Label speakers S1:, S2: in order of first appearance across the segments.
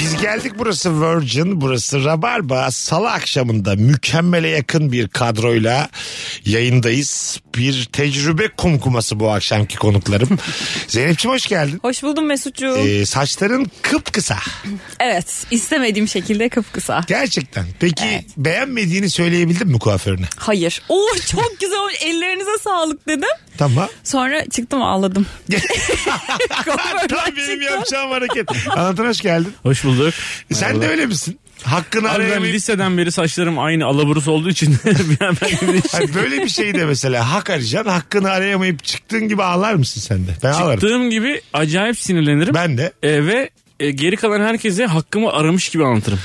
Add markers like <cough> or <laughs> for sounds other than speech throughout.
S1: Biz geldik burası Virgin, burası Rabarba. Salı akşamında mükemmele yakın bir kadroyla yayındayız. Bir tecrübe kumkuması bu akşamki <laughs> konuklarım. Zeynep'ciğim hoş geldin.
S2: Hoş buldum Mesut'cuğum.
S1: Ee, saçların kıpkısa.
S2: evet istemediğim şekilde kıpkısa.
S1: Gerçekten. Peki beğenmediğini söyleyebildin mi kuaförüne?
S2: Hayır. Oo çok güzel olmuş. ellerinize sağlık dedim.
S1: <laughs> Tamam.
S2: Sonra çıktım ağladım. Kuaförden
S1: Tam benim
S2: çıktım.
S1: yapacağım hareket. Anlatan hoş geldin.
S3: Hoş bulduk.
S1: Sen de öyle misin? Hakkını
S3: Abi ben
S1: arayamayıp
S3: liseden beri saçlarım aynı alaburus olduğu için <laughs> bir an
S1: <laughs>
S3: ben gibi
S1: Hayır, böyle bir şey de mesela hak arayacaksın hakkını arayamayıp çıktığın gibi ağlar mısın sen de? Ben ağlarım.
S3: çıktığım gibi acayip sinirlenirim.
S1: Ben de.
S3: E, ve e, geri kalan herkese hakkımı aramış gibi anlatırım.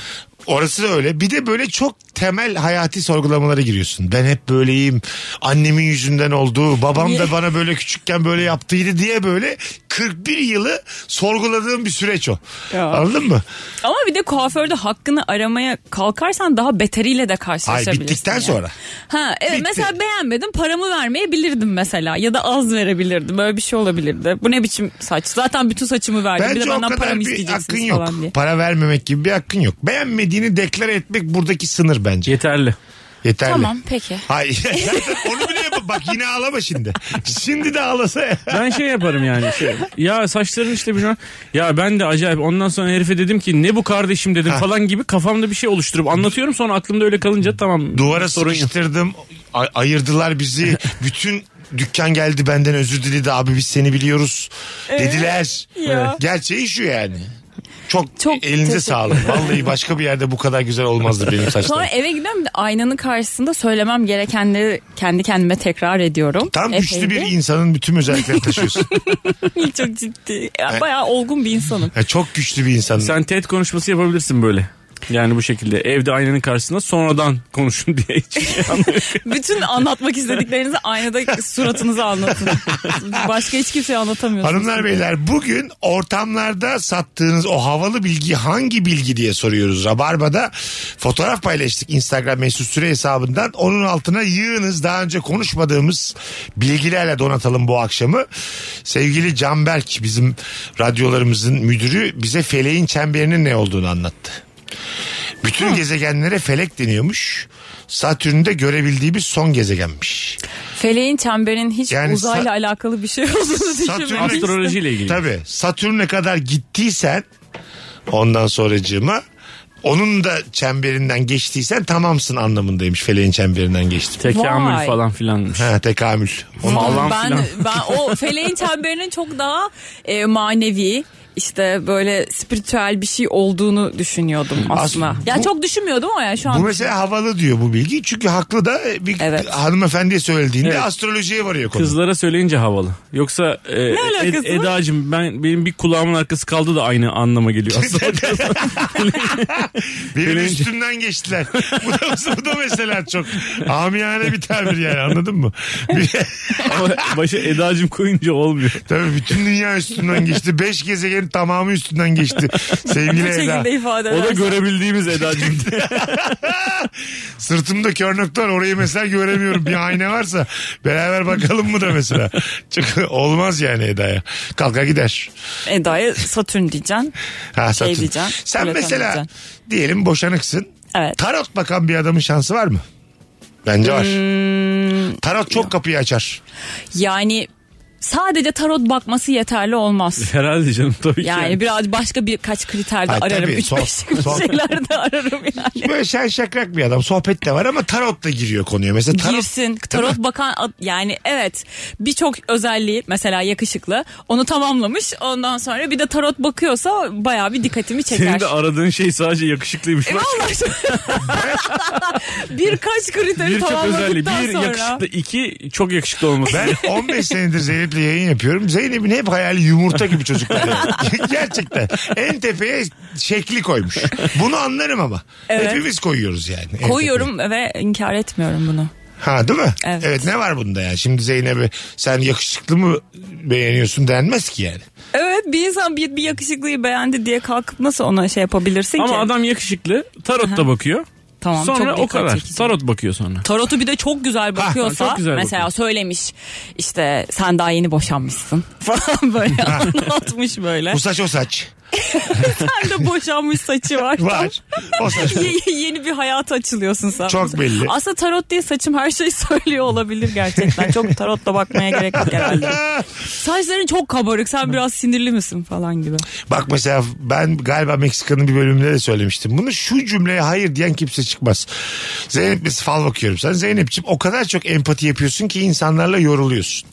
S1: Orası da öyle. Bir de böyle çok temel hayati sorgulamalara giriyorsun. Ben hep böyleyim. Annemin yüzünden oldu. Babam da bana böyle küçükken böyle yaptıydı diye böyle 41 yılı sorguladığım bir süreç o.
S2: Ya.
S1: Anladın mı?
S2: Ama bir de kuaförde hakkını aramaya kalkarsan daha beteriyle de
S1: Hayır
S2: karşılaşabilirsin.
S1: bittikten
S2: yani.
S1: sonra.
S2: Ha evet
S1: Bitti.
S2: mesela beğenmedim paramı vermeyebilirdim mesela ya da az verebilirdim böyle bir şey olabilirdi. Bu ne biçim saç zaten bütün saçımı verdim bir
S1: Bence
S2: de
S1: o
S2: benden
S1: kadar
S2: paramı
S1: bir hakkın
S2: isteyeceksiniz
S1: yok.
S2: falan diye.
S1: Para vermemek gibi bir hakkın yok. Beğenmediğini deklare etmek buradaki sınır bence.
S3: Yeterli.
S1: Yeterli.
S2: Tamam peki.
S1: Hayır. <laughs> Onu bile yap. Bak yine ağlama şimdi. Şimdi de ağlasa.
S3: Ben şey yaparım yani. Şey, ya saçların işte bilmem. Ya ben de acayip ondan sonra herife dedim ki ne bu kardeşim dedim falan gibi kafamda bir şey oluşturup anlatıyorum sonra aklımda öyle kalınca tamam.
S1: Duvara
S3: sorun yok.
S1: sıkıştırdım. A- ayırdılar bizi. Bütün dükkan geldi benden özür diledi. Abi biz seni biliyoruz. Dediler.
S2: Ee, Ya.
S1: Gerçeği şu yani. Çok,
S2: Çok
S1: elinize
S2: teşekkür
S1: sağlık. Vallahi başka bir yerde bu kadar güzel olmazdı benim
S2: Sonra
S1: saçlarım.
S2: eve gidiyorum bir de aynanın karşısında söylemem gerekenleri kendi kendime tekrar ediyorum.
S1: Tam güçlü bir
S2: Epeydi.
S1: insanın bütün özellikleri taşıyorsun.
S2: Çok ciddi. Ya, bayağı olgun bir insanım.
S1: Ya çok güçlü bir insan.
S3: Sen TED konuşması yapabilirsin böyle. Yani bu şekilde evde aynanın karşısında sonradan
S1: <laughs>
S3: konuşun diye hiçbir şey anlamıyorum.
S2: Bütün anlatmak istediklerinizi aynada suratınızı anlatın. Başka hiç kimseye anlatamıyorsunuz.
S1: Hanımlar beyler bugün ortamlarda sattığınız o havalı bilgi hangi bilgi diye soruyoruz. Rabarba'da fotoğraf paylaştık Instagram mesut süre hesabından. Onun altına yığınız daha önce konuşmadığımız bilgilerle donatalım bu akşamı. Sevgili Canberk bizim radyolarımızın müdürü bize feleğin çemberinin ne olduğunu anlattı. Bütün gezegenlere felek deniyormuş. Satürn'de görebildiğimiz son gezegenmiş.
S2: Feleğin çemberin hiç
S1: Yani sa-
S2: uzayla alakalı bir şey olduğunu düşünmemiştim.
S3: Astrolojiyle ilgili.
S1: Tabii. Satürn'e kadar gittiysen ondan sonracığıma onun da çemberinden geçtiysen tamamsın anlamındaymış. Feleğin çemberinden geçtim.
S3: Tekamül
S2: Vay.
S3: falan filanmış.
S1: Ha, tekamül. Onu-
S3: Falan
S2: ben,
S3: filan.
S2: ben o feleğin çemberinin çok daha e, manevi işte böyle spiritüel bir şey olduğunu düşünüyordum aslında.
S1: Aslında
S2: ya
S1: bu-
S2: çok düşünmüyordum ama ya şu an.
S1: bu mesela havalı diyor bu bilgi. Çünkü haklı da e, bir
S2: Evet.
S1: hanımefendiye söylediğinde
S3: Evet.
S1: astrolojiye varıyor konu.
S3: Kızlara söyleyince havalı. Yoksa e, Ed-
S2: alakası var?
S3: Eda'cığım ben benim bir kulağımın arkası kaldı da aynı anlama geliyor aslında.
S1: Benim
S3: Feleğin-
S1: üstümden geçtiler. bu, da, bu da mesela çok amiyane bir tabir yani anladın mı? Bir-
S3: Ama başa Eda'cığım koyunca olmuyor.
S1: Tabii bütün dünya üstümden geçti. Beş gezegenin tamamı üstünden geçti. Sevgili
S2: bu
S1: Eda.
S2: şekilde ifade
S3: O da
S2: edersen.
S3: görebildiğimiz Eda'cığım.
S1: Sırtımda kör nokta var orayı mesela göremiyorum. Bir ayna varsa beraber bakalım mı da mesela. Çünkü olmaz yani Eda'ya. Kalkar gider.
S2: Eda'ya Satürn diyeceksin.
S1: Ha, satın.
S2: Şey diyeceğim,
S1: Sen
S2: Platon
S1: mesela
S2: diyeceğim.
S1: diyelim boşanıksın.
S2: Evet.
S1: Tarot bakan bir adamın şansı var mı? Bence var.
S2: Hmm,
S1: Tarot çok kapıyı açar.
S2: Yani sadece tarot bakması yeterli olmaz.
S3: Herhalde canım tabii ki.
S2: Yani biraz başka birkaç kriter de
S1: Hayır,
S2: ararım.
S1: tabii,
S2: 3
S1: son-
S2: 5 <laughs>
S1: son-
S2: şeyler de ararım yani.
S1: Böyle şen şakrak bir adam. Sohbet de var ama tarot da giriyor konuya. Mesela tarot...
S2: Girsin. Tarot bakan ad- yani evet birçok özelliği mesela yakışıklı onu tamamlamış. Ondan sonra bir de tarot bakıyorsa bayağı bir dikkatimi
S3: Senin
S2: çeker.
S3: de aradığın şey sadece yakışıklıymış.
S2: E,
S3: Bak,
S2: <laughs> vallahi şu- <laughs> birkaç kriteri
S3: Birçok özelliği.
S2: tamamladıktan
S3: Bir
S2: sonra.
S3: yakışıklı, iki çok yakışıklı olması.
S1: Ben 15 senedir Zeynep'le yayın yapıyorum. Zeynep'in hep hayali yumurta gibi çocuklar. yani. <laughs> Gerçekten. En tepeye şekli koymuş. Bunu anlarım ama.
S2: Evet.
S1: Hepimiz koyuyoruz yani. en
S2: Koyuyorum ve inkar etmiyorum bunu.
S1: tepeye. Ha değil mi?
S2: Evet.
S1: ne var bunda ya? Şimdi Zeynep'e sen yakışıklı mı beğeniyorsun denmez ki yani.
S2: Evet bir insan bir, bir yakışıklıyı beğendi diye kalkıp nasıl ona şey yapabilirsin ki?
S3: Ama adam yakışıklı. Tarot da bakıyor.
S2: Tamam,
S3: sonra
S2: çok
S3: o
S2: dikkat
S3: kadar.
S2: çekici.
S3: Tarot bakıyor sonra.
S2: Tarotu bir de çok güzel bakıyorsa
S3: çok güzel
S2: mesela
S3: bakıyor.
S2: söylemiş işte sen daha yeni boşanmışsın <laughs> falan böyle anlatmış böyle.
S1: Bu saç o saç.
S2: Sen de boşanmış saçı var.
S1: Var. O saç. bu.
S2: Ye- ye- Yeni bir hayata açılıyorsun sen.
S1: Çok belli.
S2: Aslında tarot diye saçım her şeyi <laughs> söylüyor olabilir gerçekten. Çok tarotla bakmaya gerek yok herhalde.
S1: <laughs>
S2: Saçların çok kabarık sen biraz sinirli misin falan gibi.
S1: Bak mesela ben galiba Meksika'nın bir bölümünde de söylemiştim. Bunu şu cümleye hayır diyen kimse çıkmaz. Zeynep biz fal bakıyorum sen. Zeynep'ciğim o kadar çok empati yapıyorsun ki insanlarla yoruluyorsun.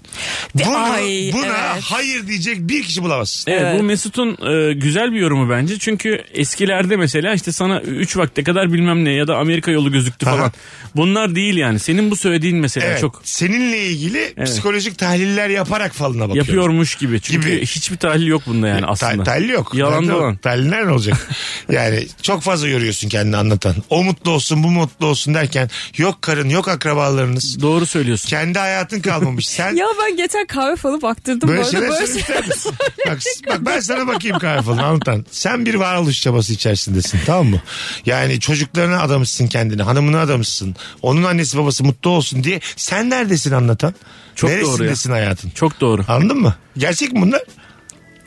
S1: Buna,
S2: ay,
S1: buna
S2: evet.
S1: hayır diyecek bir kişi bulamazsın.
S3: Evet,
S2: Evet.
S3: bu Mesut'un e, güzel bir yorumu bence. Çünkü eskilerde mesela işte sana 3 vakte kadar bilmem ne ya da Amerika yolu gözüktü
S1: Aha.
S3: falan. Bunlar değil yani. Senin bu söylediğin mesela
S1: Evet,
S3: çok
S1: Seninle ilgili psikolojik tahliller yaparak falına bakıyorum.
S3: yapıyormuş gibi. Çünkü
S1: Gibi. E,
S3: hiçbir tahlil yok bunda yani
S1: Ta-
S3: aslında.
S1: tahlil yok.
S3: Yalan
S1: Zaten
S3: dolan.
S1: Tahlil nerede olacak?
S3: <laughs>
S1: yani çok fazla yoruyorsun kendini anlatan. O mutlu olsun bu mutlu olsun derken yok karın yok akrabalarınız.
S3: Doğru söylüyorsun.
S1: Kendi hayatın kalmamış.
S3: <laughs>
S1: Sen
S2: Ya ben geçen kahve falı baktırdım
S1: Böyle
S2: bu arada.
S1: şeyler
S2: Böyle şey-
S1: söylemek ister misin?
S2: <laughs>
S1: bak, bak ben sana bakayım Karfalın Anlatan. Sen bir varoluş çabası içerisindesin tamam mı? Yani çocuklarına adamışsın kendini. Hanımına adamışsın. Onun annesi babası mutlu olsun diye. Sen neredesin anlatan?
S3: Çok doğru ya.
S1: Neresindesin hayatın?
S3: Çok doğru.
S1: Anladın mı? Gerçek mi bunlar?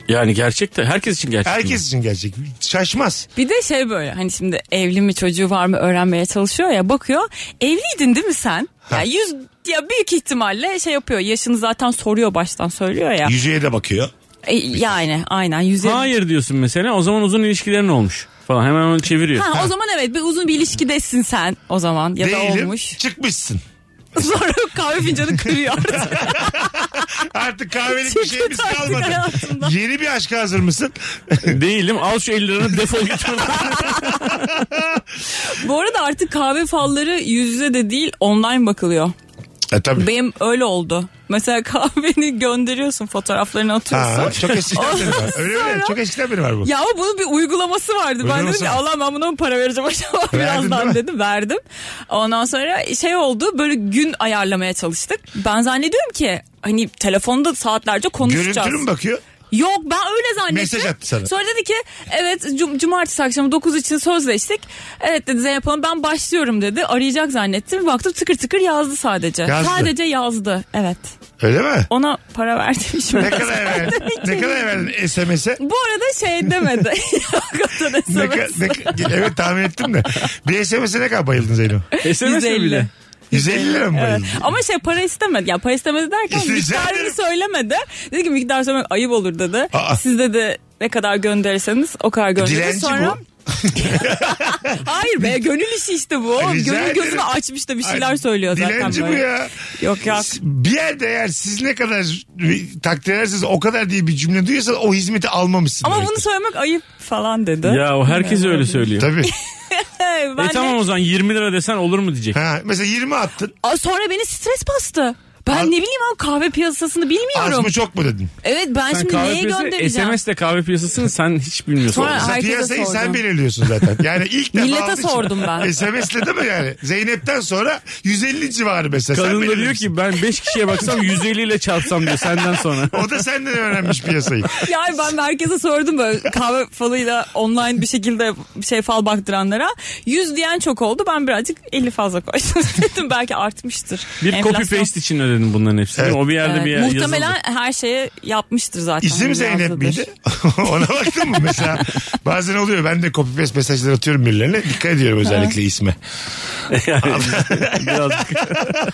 S3: Yani gerçekte herkes için gerçek.
S1: Herkes için gerçek. Şaşmaz.
S2: Bir de şey böyle hani şimdi evli mi çocuğu var mı öğrenmeye çalışıyor ya bakıyor. Evliydin değil mi sen? Ya yüz ya büyük ihtimalle şey yapıyor. Yaşını zaten soruyor baştan söylüyor ya.
S1: Yüzüğe de bakıyor.
S2: E, yani aynen yüz elli-
S3: Hayır diyorsun mesela. O zaman uzun ilişkilerin olmuş falan. Hemen onu çeviriyor.
S2: Ha, o zaman evet bir uzun bir ilişkidesin sen o zaman ya da
S1: Değilim.
S2: olmuş. <laughs>
S1: Çıkmışsın.
S2: Sonra kahve fincanı kırıyor artık.
S1: Artık kahvelik bir şeyimiz
S2: Çıktı artık
S1: kalmadı.
S2: hayatımdan.
S1: Yeni bir aşka hazır mısın? <laughs>
S3: Değilim. Al şu 50 liranı
S2: <laughs>
S3: defol git.
S2: Bu arada artık kahve falları yüz yüze de değil online bakılıyor.
S1: e tabii.
S2: Benim öyle oldu. Mesela <laughs> kahveni gönderiyorsun fotoğraflarını atıyorsun.
S1: Ha, çok
S2: <laughs>
S1: eskiden beri var. Öyle mi? Çok eskiden beri var bu.
S2: Ya ama bunun bir uygulaması vardı. ben
S1: Uygulaması
S2: dedim ki
S1: var.
S2: Allah ben buna mı para vereceğim acaba
S1: Verdin
S2: <laughs>
S1: değil mi?
S2: birazdan dedim. Verdim. Ondan sonra şey oldu böyle gün ayarlamaya çalıştık. Ben zannediyorum ki hani telefonda saatlerce konuşacağız.
S1: Görüntülü mü bakıyor?
S2: Yok ben öyle zannettim.
S1: Mesaj attı sana.
S2: Sonra dedi ki evet cum- cumartesi akşamı 9 için sözleştik. Evet dedi Zeynep Hanım ben başlıyorum dedi. Arayacak zannettim. Baktım tıkır tıkır yazdı sadece.
S1: Yazdı.
S2: Sadece yazdı. Evet.
S1: Öyle mi?
S2: Ona para verdim
S1: Ne
S2: şimdi.
S1: kadar verdin? ne kadar verdin SMS'e?
S2: <laughs> Bu arada şey demedi.
S1: <laughs>
S2: Yok, o da
S1: Ne
S2: SMS.
S1: ka- ne ka- evet tahmin ettim de. Bir SMS'e ne kadar bayıldın Zeyno?
S3: SMS mi
S2: 150.
S3: bile.
S1: 150 lira mı bayıldın?
S2: Ama şey para istemedi. Ya para istemedi derken
S1: İşte rica
S2: miktarını
S1: ederim.
S2: söylemedi. Dedi ki miktar söylemek ayıp olur dedi.
S1: Aa.
S2: Siz dedi ne kadar gönderirseniz o kadar gönderin.
S1: Dilenci
S2: Sonra...
S1: bu. <laughs>
S2: Hayır be gönül işi işte bu.
S1: Rica ederim.
S2: gönül gözünü açmış da bir şeyler söylüyor zaten
S1: Dilenci
S2: böyle.
S1: bu ya.
S2: Yok yok.
S1: Bir yerde eğer siz ne kadar takdir ederseniz o kadar diye bir cümle duyuyorsan o hizmeti almamışsın.
S2: Ama
S1: demektir.
S2: bunu söylemek ayıp falan dedi.
S3: Ya o herkes öyle söylüyor.
S1: Tabii.
S2: Hey, ben
S3: E
S2: de-
S3: tamam o zaman 20 lira desen olur mu diyecek.
S1: Ha, mesela 20 attın.
S2: Aa, sonra beni stres bastı. Ben
S1: Az-
S2: ne bileyim abi kahve piyasasını
S1: Az
S2: bilmiyorum.
S1: mı çok mu dedin?
S2: Evet ben
S3: Sen
S2: şimdi
S3: kahve
S2: neye
S3: piyasası,
S2: göndereceğim?
S3: SMS ile kahve piyasasını sen hiç bilmiyorsun.
S2: Sonra-
S3: Sen-
S1: Sen
S2: herkese
S1: piyasayı sen
S2: sordum.
S1: belirliyorsun zaten. Yani ilk defa
S2: Millete
S1: aldığın için-
S2: sordum
S1: <laughs>
S2: ben.
S1: SMS'le değil mi yani? Zeynep'ten sonra 150 civarı mesela. Sen
S3: Kadın da diyor
S1: belirlemişsin.
S3: ki ben 5 kişiye baksam 150 ile çarpsam diyor senden sonra.
S1: O da senden öğrenmiş piyasayı.
S2: Yani ben herkese sordum böyle kahve falıyla online bir şekilde şey fal baktıranlara. 100 diyen çok oldu. Ben birazcık 50 fazla koydum <laughs> dedim. Belki artmıştır.
S3: Bir
S2: Enflasyon.
S3: copy paste için ödedim bunların hepsini.
S1: Evet.
S3: O bir yerde
S2: Evet,
S3: bir yer
S2: Muhtemelen
S3: yazıldı.
S2: her şeye yapmıştır zaten.
S1: İsim
S2: Hani
S1: Zeynep
S2: yazdıdır.
S1: miydi? <laughs> Ona baktın mı mesela? Bazen oluyor ben de copy paste mesajlar atıyorum birilerine. Dikkat ediyorum özellikle isme.
S3: Biraz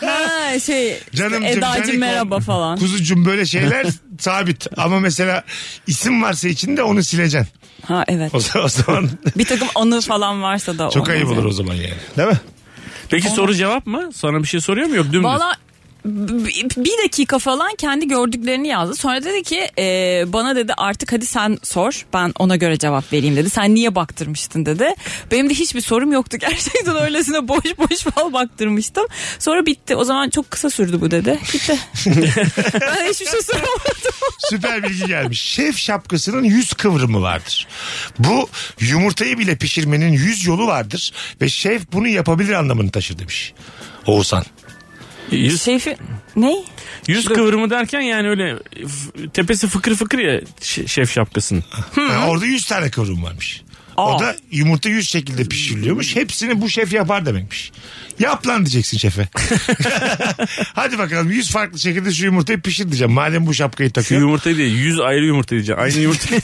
S2: Ha şey
S1: Canımcım,
S2: Canımcım, Edacım
S1: canikom,
S2: merhaba falan.
S1: Kuzucum böyle şeyler sabit. Ama mesela isim varsa içinde onu sileceksin.
S2: Ha evet.
S1: O, zaman- o zaman
S2: Bir takım anı falan varsa da
S1: çok
S2: olmaz
S1: ayıp olur
S2: yani.
S1: o zaman yani. Değil mi?
S3: Peki soru cevap mı? Sana bir şey soruyor mu? Yok dümdüz.
S2: Valla b- bir dakika falan kendi gördüklerini yazdı. Sonra dedi ki e, bana dedi artık hadi sen sor ben ona göre cevap vereyim dedi. Sen niye baktırmıştın dedi. Benim de hiçbir sorum yoktu <laughs> gerçekten öylesine boş boş fal baktırmıştım. Sonra bitti o zaman çok kısa sürdü bu dedi. Bitti.
S3: <laughs>
S2: ben hiçbir şey soramadım.
S1: Süper bilgi gelmiş. Şef şapkasının yüz kıvrımı vardır. Bu yumurtayı bile pişirmenin yüz yolu vardır. Ve şef bunu yapabilir anlamını taşır demiş. Oğuzhan.
S3: Yüz,
S2: Şefi ne?
S3: yüz kıvrımı derken yani öyle f- tepesi fıkır fıkır ya ş- şef şapkasının.
S1: Ha, orada 100 tane kıvrım varmış. O
S2: Aa.
S1: da yumurta 100 şekilde pişiriliyormuş. Hepsini bu şef yapar demekmiş. Yap lan diyeceksin şefe. <laughs> Hadi bakalım 100 farklı şekilde şu yumurtayı pişir diyeceğim. Madem bu şapkayı
S3: Şu
S1: takıyor.
S3: yumurtayı değil yüz ayrı yumurta diyeceğim. Aynı
S2: <laughs>
S3: yumurta.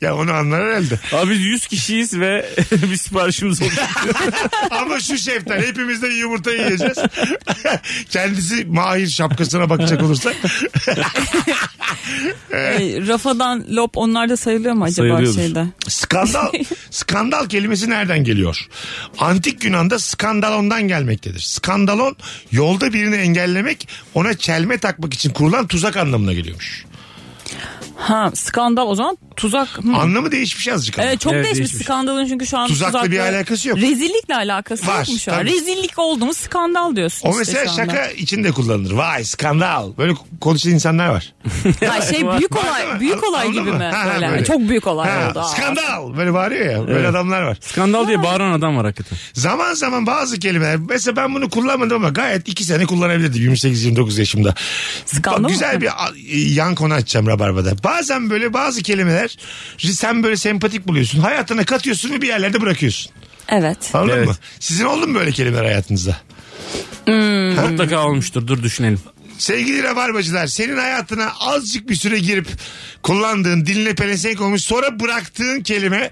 S1: ya onu anlar herhalde.
S3: Abi biz yüz kişiyiz ve <laughs> bir
S2: <laughs>
S3: siparişimiz oldu.
S1: Ama şu şeften hepimiz de yumurta yiyeceğiz. <laughs> Kendisi mahir şapkasına bakacak olursak.
S2: Ee, rafadan lop onlar da sayılıyor mu acaba
S3: Sayılıyordur.
S2: şeyde? <laughs>
S1: Skandal skandal kelimesi nereden geliyor? Antik Yunan'da skandalondan gelmektedir. Skandalon yolda birini engellemek, ona çelme takmak için kurulan tuzak anlamına geliyormuş.
S2: Ha skandal o zaman tuzak. Hı.
S1: Anlamı değişmiş azıcık ama.
S2: Evet çok
S3: Evet,
S2: değişmiş
S3: değişmiş.
S2: skandalın çünkü şu an
S1: Tuzakla bir alakası yok.
S2: Rezillikle alakası
S1: Var,
S2: yok mu şu an?
S1: tabii.
S2: Rezillik oldu mu skandal diyorsun
S1: O
S2: işte
S1: mesela
S2: şu anda.
S1: şaka için de kullanılır. Vay skandal. Böyle konuşan insanlar var.
S2: Ha, şey büyük olay, büyük olay
S1: Anladın
S2: gibi mi?
S1: Ha, ha,
S2: Böyle.
S1: böyle.
S2: Çok büyük olay
S1: Ha,
S2: oldu. Aa.
S1: Skandal. Böyle bağırıyor ya. Böyle adamlar var.
S3: Skandal diye bağıran adam var hakikaten.
S1: Zaman zaman bazı kelimeler mesela ben bunu kullanmadım ama gayet 2 sene kullanabilirdim 28-29 yaşımda.
S2: Skandal
S1: Bak,
S2: mı?
S1: güzel bir a- e, yan konu açacağım Rabarba'da. Bazen böyle bazı kelimeler sen böyle sempatik buluyorsun. Hayatına katıyorsun ve bir yerlerde bırakıyorsun.
S2: Evet.
S1: Anladın
S3: Evet.
S1: mı? Sizin oldu mu böyle kelimeler hayatınızda?
S2: Hmm.
S3: Mutlaka olmuştur dur düşünelim.
S1: Sevgili Rabarbacılar senin hayatına azıcık bir süre girip kullandığın diline pelesenk olmuş sonra bıraktığın kelime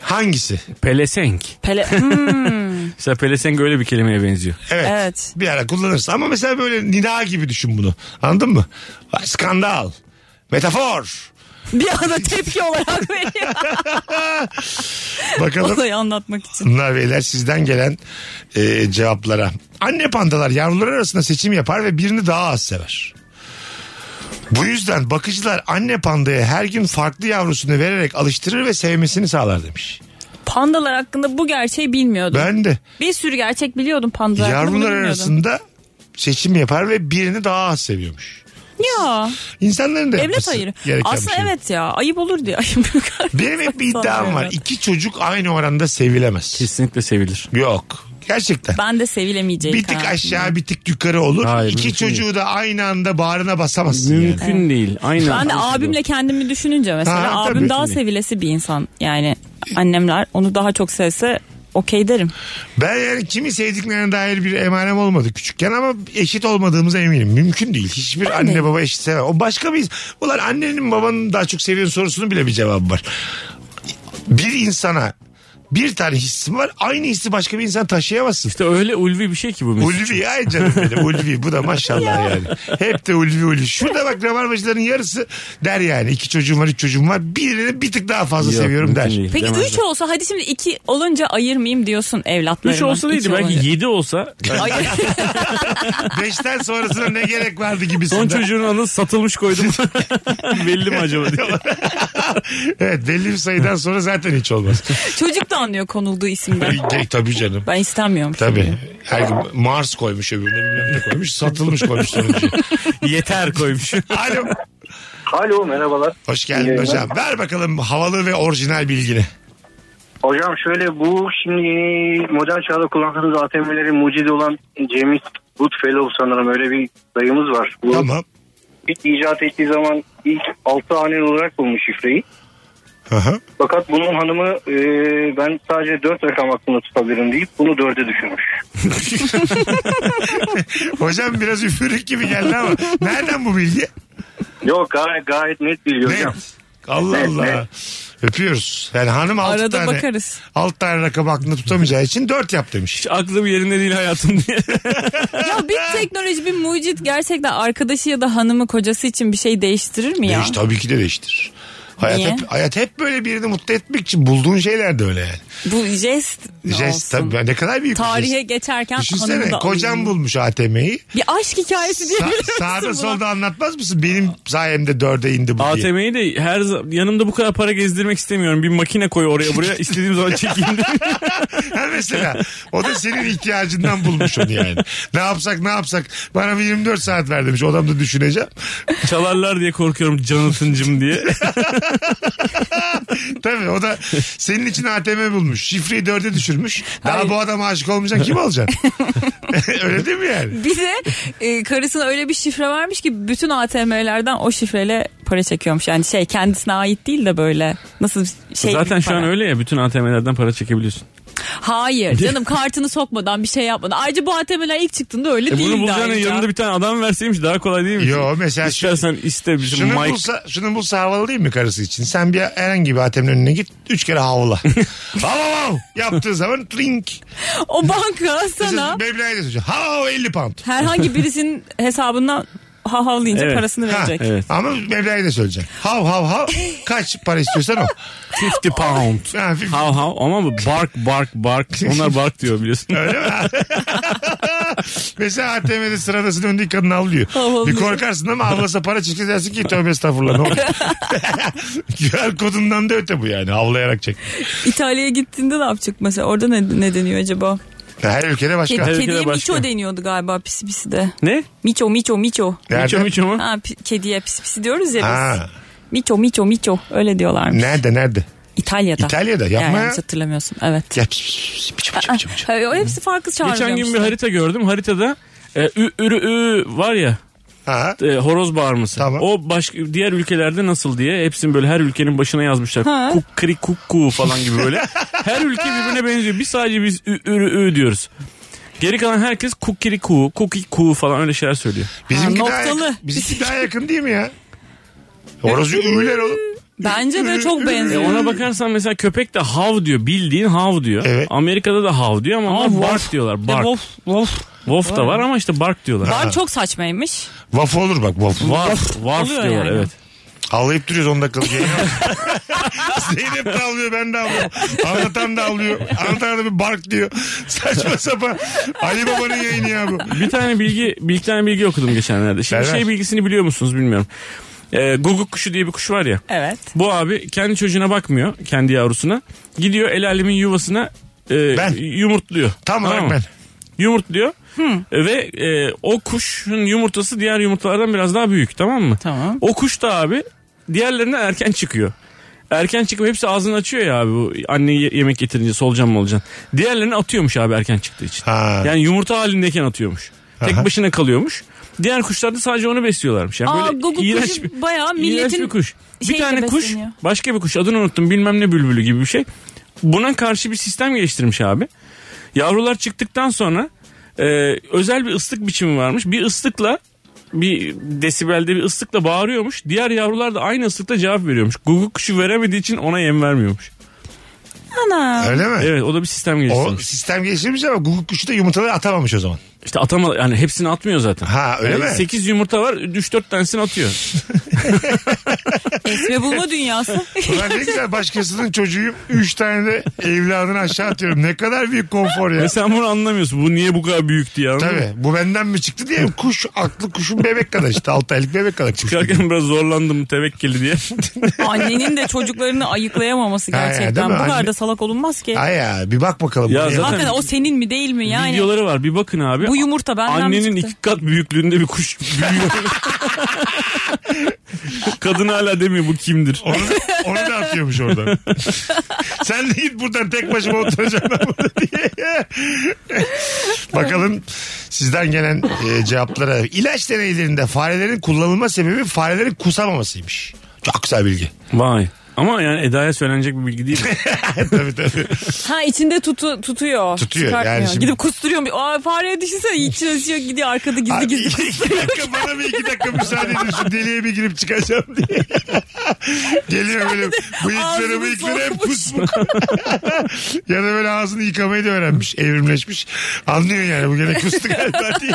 S1: hangisi?
S3: Pelesenk.
S1: <laughs>
S2: Pele Hmm,
S3: Mesela pelesenk öyle bir kelimeye benziyor.
S1: Evet.
S2: Evet.
S1: Bir ara kullanırsın. Ama mesela böyle nida gibi düşün bunu. Anladın mı? Vay, Skandal. Metafor.
S2: bir anda tepki olarak veriyor.
S1: <laughs>
S2: <laughs>
S1: Bakalım
S2: Olayı anlatmak için.
S1: hanımlar beyler sizden gelen e, cevaplara. Anne pandalar yavruları arasında seçim yapar ve birini daha az sever. Bu yüzden bakıcılar anne pandaya her gün farklı yavrusunu vererek alıştırır ve sevmesini sağlar demiş.
S2: Pandalar hakkında bu gerçeği bilmiyordum.
S1: Ben de
S2: Bir sürü gerçek biliyordum pandalar hakkında. bunu
S1: yavrular
S2: bilmiyordum.
S1: arasında seçim yapar ve birini daha az seviyormuş.
S2: Ya
S1: İnsanların da
S2: evlat
S1: yapması
S2: hayır.
S1: gereken bir
S2: Aslında
S1: şey bu.
S2: evet ya ayıp olur diye. <laughs> Ayıp yok.
S1: Benim hep bir iddiam var.
S2: Evet.
S1: İki çocuk aynı oranda sevilemez.
S3: Kesinlikle sevilir.
S1: Yok. Gerçekten.
S2: Ben de sevilemeyeceğim.
S1: Bir tık aşağı bir tık yukarı olur.
S3: Hayır,
S1: İki
S3: mümkün
S1: çocuğu da aynı anda bağrına basamazsın yani.
S3: Mümkün değil. Aynen.
S2: Ben de abimle kendimi düşününce mesela
S1: Ha,
S2: abim
S1: tabii.
S2: daha sevilesi bir insan. Yani annemler onu daha çok sevse okey derim.
S1: Ben yani kimi sevdiklerine dair bir emanem olmadı küçükken ama eşit olmadığımıza eminim. Mümkün değil. Hiçbir anne baba eşit sevmez. O başka bir... Ulan annenin babanın daha çok seviyorsun sorusunun bile bir cevabı var. Bir insana bir tane hissi var. Aynı hissi başka bir insan taşıyamazsın.
S3: İşte öyle ulvi bir şey ki bu mesela.
S1: Ulvi ay canım benim Ulvi bu da maşallah yani. Hep de Ulvi Ulvi. Şurada bak rabarbacıların yarısı der yani. iki çocuğum var üç çocuğum var. Birini bir tık daha fazla seviyorum der.
S2: Peki 3 olsa hadi şimdi 2 olunca ayırmayayım diyorsun evlatlarıma.
S3: 3 olsa
S2: Üç
S3: değildi belki
S2: olunca.
S3: 7 olsa
S2: Ay-
S1: Beşten sonrasına ne gerek vardı gibisinden.
S3: son çocuğun anı satılmış koydum. Belli mi acaba diye.
S1: <laughs> Evet belli bir sayıdan sonra zaten hiç olmaz.
S2: Çocuk da anlıyor konulduğu
S3: <laughs>
S2: isimden.
S1: Ge- Tabii canım.
S2: Ben istemiyorum.
S1: Tabii. Her gün Mars koymuş öbürüne bilmem ne koymuş. Satılmış koymuş sonuncu.
S3: <laughs> Yeter koymuş.
S1: Alo.
S4: Alo merhabalar.
S1: Hoş geldin hocam. Ver bakalım havalı ve orijinal bilgini.
S4: Hocam şöyle bu şimdi yeni modern çağda kullandığımız ATM'lerin mucidi olan James Goodfellow sanırım öyle bir dayımız var. Bu
S1: Tamam.
S4: ilk icat ettiği zaman ilk altı haneli olarak bulmuş şifreyi.
S1: Hı hı.
S4: Fakat bunun hanımı e, ben sadece dört rakam aklımda tutabilirim deyip bunu dörde düşürmüş.
S1: Hocam biraz üfürük gibi geldi ama nereden bu bilgi?
S4: Yok gayet, gayet net biliyor
S1: Ne?
S4: hocam.
S1: Allah
S4: Evet,
S1: Allah.
S4: evet.
S1: Öpüyoruz. Yani hanım altı
S2: Arada
S1: tane. <laughs>
S2: bakarız.
S1: Alt tane rakamı aklında tutamayacağı için dört yap demiş.
S3: Hiç aklım yerinde değil hayatım diye.
S2: Ya bir teknoloji bir mucit gerçekten arkadaşı ya da hanımı kocası için bir şey değiştirir mi ya?
S1: Değiş, E, tabii ki de değiştir. Hayat
S2: Niye?
S1: hep, hayat hep böyle birini mutlu etmek için bulduğun şeyler de öyle yani.
S2: Bu jest ne
S1: Jest
S2: olsun?
S1: tabii ne kadar büyük bir
S2: Tarihe
S1: jest.
S2: geçerken hanımı
S1: Düşünsene
S2: da
S1: kocam
S2: alayım.
S1: bulmuş
S2: <laughs>
S1: ATM'yi.
S2: Bir aşk hikayesi
S1: Sa-
S2: diyebilir misin
S1: sağda
S2: buna?
S1: solda anlatmaz mısın? Benim sayemde dörde indi bu diye.
S3: ATM'yi de her za- yanımda bu kadar para gezdirmek istemiyorum. Bir makine koy oraya buraya istediğim zaman <laughs> çekeyim diye.
S1: <laughs> Ha mesela o da senin ihtiyacından bulmuş onu yani. Ne yapsak ne yapsak bana bir 24 saat ver demiş. Odamda düşüneceğim.
S3: Çalarlar diye korkuyorum Jonathan'cım diye.
S1: Tabii o da senin için ATM bulmuş. Şifreyi dörde düşürmüş. Daha
S2: Hayır.
S1: bu adama aşık olmayacaksın kim olacaksın? Öyle değil mi yani?
S2: <laughs> Bir de e, karısına öyle bir şifre vermiş ki bütün ATM'lerden o şifreyle para çekiyormuş. Yani şey kendisine ait değil de böyle nasıl bir şey
S3: Zaten
S2: gibi
S3: şu an
S2: para.
S3: öyle ya bütün ATM'lerden para çekebiliyorsun. <laughs>
S2: Hayır canım kartını sokmadan bir şey yapmadan. Ayrıca bu ATM'ler ilk çıktığında öyle
S3: E
S2: değildi.
S3: bunu bulacağına
S2: ayrıca.
S3: yanında bir tane adam verseymiş daha kolay değil mi?
S1: Yo, mesela şu-
S3: İstersen iste bizim
S1: Şunu
S3: Mike.
S1: bulsa, şunu bulsa havalı değil mi karısı için? Sen bir herhangi bir ATM'nin önüne git. Üç kere havla. hav hav hav. Yaptığı zaman trink.
S2: O
S3: <laughs>
S2: banka sana
S1: Mesela Meblağı da söyleyecek. Hav hav 50 pound.
S2: herhangi birisinin hesabından hav hav deyince
S3: Evet.
S2: parasını
S1: Ha.
S2: verecek.
S3: Evet.
S1: Ama meblağı da söyleyecek. Hav hav hav. Kaç para istiyorsan o.
S3: 50 pound.
S1: Ha, fif-
S3: Hav hav ama bu bark bark bark. Onlar bark diyor biliyorsun.
S1: Mesela ATM'de sıradasının önündeki kadın avlıyor.
S2: Havlıyor.
S1: Bir korkarsın ama avlasa para çıkacak dersin ki tövbe estağfurullah. ne <laughs> olur. QR kodundan da öte bu yani. Avlayarak çek.
S2: İtalya'ya gittiğinde ne yapacak mesela? Orada ne, ne deniyor acaba?
S1: Her ülkede başka.
S2: Kedi,
S3: ülkede
S2: kediye
S3: başka.
S2: miço deniyordu galiba pisi pisi de.
S3: ne?
S2: Miço miço miço.
S1: Nerede?
S3: Miço miço mu?
S2: Ha, pi- kediye pisi pisi diyoruz ya biz.
S1: Ha.
S2: Miço miço miço öyle diyorlarmış.
S1: Nerede nerede?
S2: İtalya'da.
S1: İtalya'da, yapma
S2: yani
S1: ya.
S2: Yanlış hatırlamıyorsun evet.
S1: Ya, piş, piş, piş, piş, piş, piş, piş.
S2: Ha, o hepsi farklı çağrılıyormuş.
S3: Geçen gün bir harita gördüm. Haritada e, ü, ürü, ü var ya
S1: Ha.
S3: e, horoz bağırması.
S1: Tamam.
S3: O başka diğer ülkelerde nasıl diye hepsini böyle her ülkenin başına yazmışlar.
S2: Ha.
S3: Kuk kri kuk ku falan gibi böyle. her ülke birbirine benziyor. Biz sadece biz ü, ürü, ü diyoruz. Geri kalan herkes kukiri ku, kuki ku falan öyle şeyler söylüyor.
S1: Bizimki,
S2: Ha,
S1: daha,
S2: noktalı.
S1: yakın, bizimki daha yakın değil mi ya? Orası ünlüler oğlum.
S2: Bence de çok
S3: E
S2: benziyor.
S3: ona bakarsan mesela köpek de hav diyor. Bildiğin hav diyor.
S1: Evet.
S3: Amerika'da da hav diyor ama
S2: Ama
S3: onlar
S2: wolf.
S3: bark diyorlar. Bark. Wolf.
S2: Of, of.
S3: da var ama işte bark diyorlar.
S2: Var çok saçmaymış.
S1: Vaf olur bak vaf.
S3: Warf, warf
S2: Oluyor
S3: diyorlar
S2: yani.
S3: evet.
S1: Havlayıp duruyoruz 10 dakikalık yayına. <laughs> Zeynep de avlıyor ben de avlıyorum. Anlatan da avlıyor. Anlatan da bir bark diyor. Saçma sapan. Ali Baba'nın yayını ya bu.
S3: Bir tane bilgi, bir iki tane bilgi okudum geçenlerde. Şimdi
S1: Ver, ver.
S3: şey bilgisini biliyor musunuz bilmiyorum. Ee, guguk kuşu diye bir kuş var ya.
S2: Evet.
S3: Bu abi kendi çocuğuna bakmıyor, kendi yavrusuna. Gidiyor el alemin yuvasına e,
S1: Ben.
S3: yumurtluyor.
S1: Tam olarak
S3: mı?
S1: ben.
S3: Yumurtluyor. E, Ve e, o kuşun yumurtası diğer yumurtalardan biraz daha büyük tamam mı?
S2: Tamam.
S3: O kuş da abi diğerlerinden erken çıkıyor. Erken çıkıp hepsi ağzını açıyor ya abi bu anne ye- yemek getirince solucan mı olacaksın. Diğerlerini atıyormuş abi erken çıktığı için.
S1: Ha.
S3: Yani yumurta halindeyken atıyormuş. Tek başına kalıyormuş. Diğer kuşlar da sadece onu besliyorlarmış. Yani
S2: Aa,
S3: böyle
S2: guguk
S3: iğrenç
S2: kuşu
S3: bir,
S2: bayağı
S3: iğrenç
S2: milletin
S3: bir kuş. Bir
S2: şeyle
S3: tane kuş
S2: besleniyor.
S3: başka bir kuş adını unuttum bilmem ne bülbülü gibi bir şey. Buna karşı bir sistem geliştirmiş abi. Yavrular çıktıktan sonra e, özel bir ıslık biçimi varmış. Bir ıslıkla bir desibelde bir ıslıkla bağırıyormuş. Diğer yavrular da aynı ıslıkla cevap veriyormuş. Guguk kuşu veremediği için ona yem vermiyormuş.
S2: Ana.
S1: Öyle mi?
S3: Evet o da bir sistem
S1: O
S3: geliştirmiş.
S1: sistem geliştirmiş ama guguk kuşu da yumurtaları atamamış o
S3: <laughs>
S1: zaman.
S3: İşte atama yani hepsini atmıyor zaten.
S1: Ha, öyle mi?
S3: 8 yumurta var 3-4 tanesini atıyor.
S2: Esme
S1: <laughs>
S2: bulma dünyası.
S1: Ulan ne güzel başkasının çocuğuyum. Üç tane de evladını aşağı atıyorum. Ne kadar büyük konfor ya.
S3: Ve sen bunu anlamıyorsun. Bu niye bu kadar büyük diye anladın mı?
S1: Tabii bu benden mi çıktı diye kuş aklı kuşun bebek kadar işte 6 aylık bebek kadar kuş.
S3: Çıkarken biraz zorlandım tevekkeli diye.
S2: Annenin de çocuklarını ayıklayamaması
S1: Ha ya, değil
S2: gerçekten.
S1: mi?
S2: Bu kadar
S1: Anne-
S2: da salak olunmaz ki.
S1: Ay ya bir bak bakalım.
S3: Ya
S1: bu ne?
S3: zaten-
S2: Hakikaten o senin mi değil mi yani?
S3: Videoları var bir bakın abi.
S2: Bu yumurta benden mi
S3: Annenin
S2: çıktı?
S3: iki kat büyüklüğünde bir kuş büyüyor.
S2: <laughs>
S3: Kadın hala demiyor bu kimdir?
S1: Onu, onu da atıyormuş
S2: <laughs>
S1: oradan. Sen de git buradan tek başıma oturacağım ben burada diye. Bakalım sizden gelen e, cevaplara. İlaç deneylerinde farelerin kullanılma sebebi farelerin kusamamasıymış. Çok güzel bilgi.
S3: Vay. Ama yani Eda'ya söylenecek bir
S2: <laughs>
S3: bilgi değil.
S1: tabii <laughs> tabii.
S2: Ha içinde tutu, tutuyor.
S1: Tutuyor,
S2: Çıkartmıyor.
S1: yani şimdi-
S2: Gidip kusturuyor. Aa fareye düşünsene içine açıyor gidiyor arkada gizli
S1: Abi, <laughs>
S2: gizli.
S1: iki, iki dakika bana bir iki dakika müsaade edin şu deliğe bir girip çıkacağım diye. Geliyor böyle bıyıkları
S2: Ağzını
S1: bıyıkları hep
S2: sokmuş. <laughs>
S1: kusmuk. ya da böyle ağzını yıkamayı da öğrenmiş. Evrimleşmiş. Anlıyor yani bu gene <laughs> kustu galiba diye.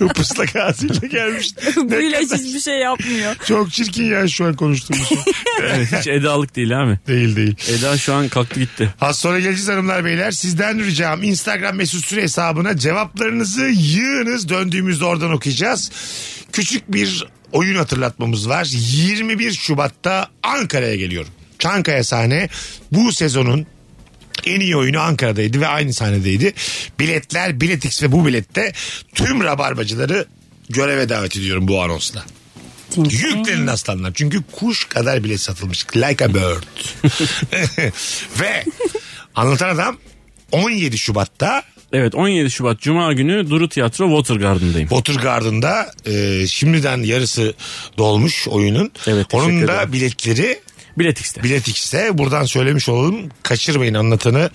S1: Bu Pıslak ağzıyla gelmiş.
S2: Bu
S1: Ne
S2: ilaç
S1: kadar-
S2: hiçbir şey yapmıyor.
S1: Çok çirkin ya şu an konuştuğumuz şey.
S3: Evet, hiç Eda'lık değil abi.
S1: Değil değil.
S3: Eda şu an kalktı gitti.
S1: Az sonra geleceğiz hanımlar beyler. Sizden ricam Instagram mesut süre hesabına cevaplarınızı yığınız. Döndüğümüzde oradan okuyacağız. Küçük bir oyun hatırlatmamız var. 21 Şubat'ta Ankara'ya geliyorum. Çankaya sahne bu sezonun en iyi oyunu Ankara'daydı ve aynı sahnedeydi. Biletler, Biletix ve bu bilette tüm rabarbacıları göreve davet ediyorum bu anonsla.
S2: Marketing.
S1: Yüklenin aslanlar. Çünkü kuş kadar bile satılmış. Like a bird.
S3: <laughs>
S1: <laughs> Ve anlatan adam 17 Şubat'ta
S3: Evet 17 Şubat Cuma günü Duru Tiyatro Water Garden'dayım.
S1: Water Garden'da e, şimdiden yarısı dolmuş oyunun.
S3: Evet, teşekkür
S1: Onun da
S3: ederim.
S1: biletleri
S3: Bilet X'te.
S1: Bilet X'te. Buradan söylemiş olalım. Kaçırmayın anlatanı.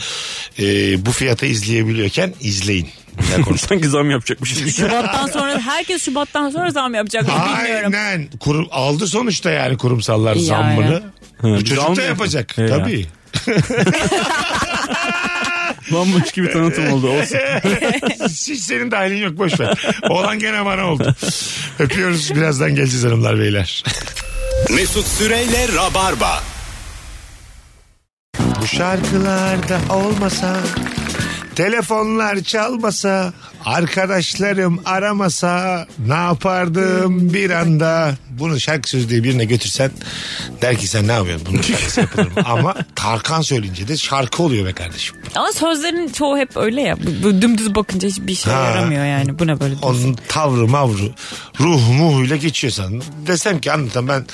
S1: E, bu fiyata izleyebiliyorken
S3: <laughs>
S1: izleyin. Bir daha konuşalım.
S3: Sanki zam şey yapacakmış.
S2: Şubattan sonra herkes Şubattan sonra zam yapacak mı bilmiyorum.
S1: Aynen. Kurum, aldı sonuçta yani kurumsallar
S2: Yani.
S1: zammını. Bu
S3: biz
S1: çocuk da
S3: almayalım.
S1: yapacak.
S3: He ya.
S1: Tabii.
S3: Bambaşka bir tanıtım
S1: <laughs>
S3: oldu. Olsun.
S1: Hiç senin dahilin yok boş ver. Olan gene bana oldu. Öpüyoruz. Birazdan geleceğiz hanımlar beyler.
S5: Mesut Süreyle Rabarba.
S1: Bu şarkılarda olmasa Telefonlar çalmasa, arkadaşlarım aramasa ne yapardım bir anda? Bunu şarkı sözü diye birine götürsen der ki sen ne yapıyorsun? Bunun şarkısı yapılır mı? Ama Tarkan söyleyince de şarkı oluyor be kardeşim.
S2: Ama sözlerin çoğu hep öyle ya. Bu- bu Dümdüz bakınca hiçbir şey
S1: Ha.
S2: yaramıyor yani. Bu ne böyle?
S1: Onun tavrı mavru ruh muhuyla geçiyor sana. Desem ki anlatan ben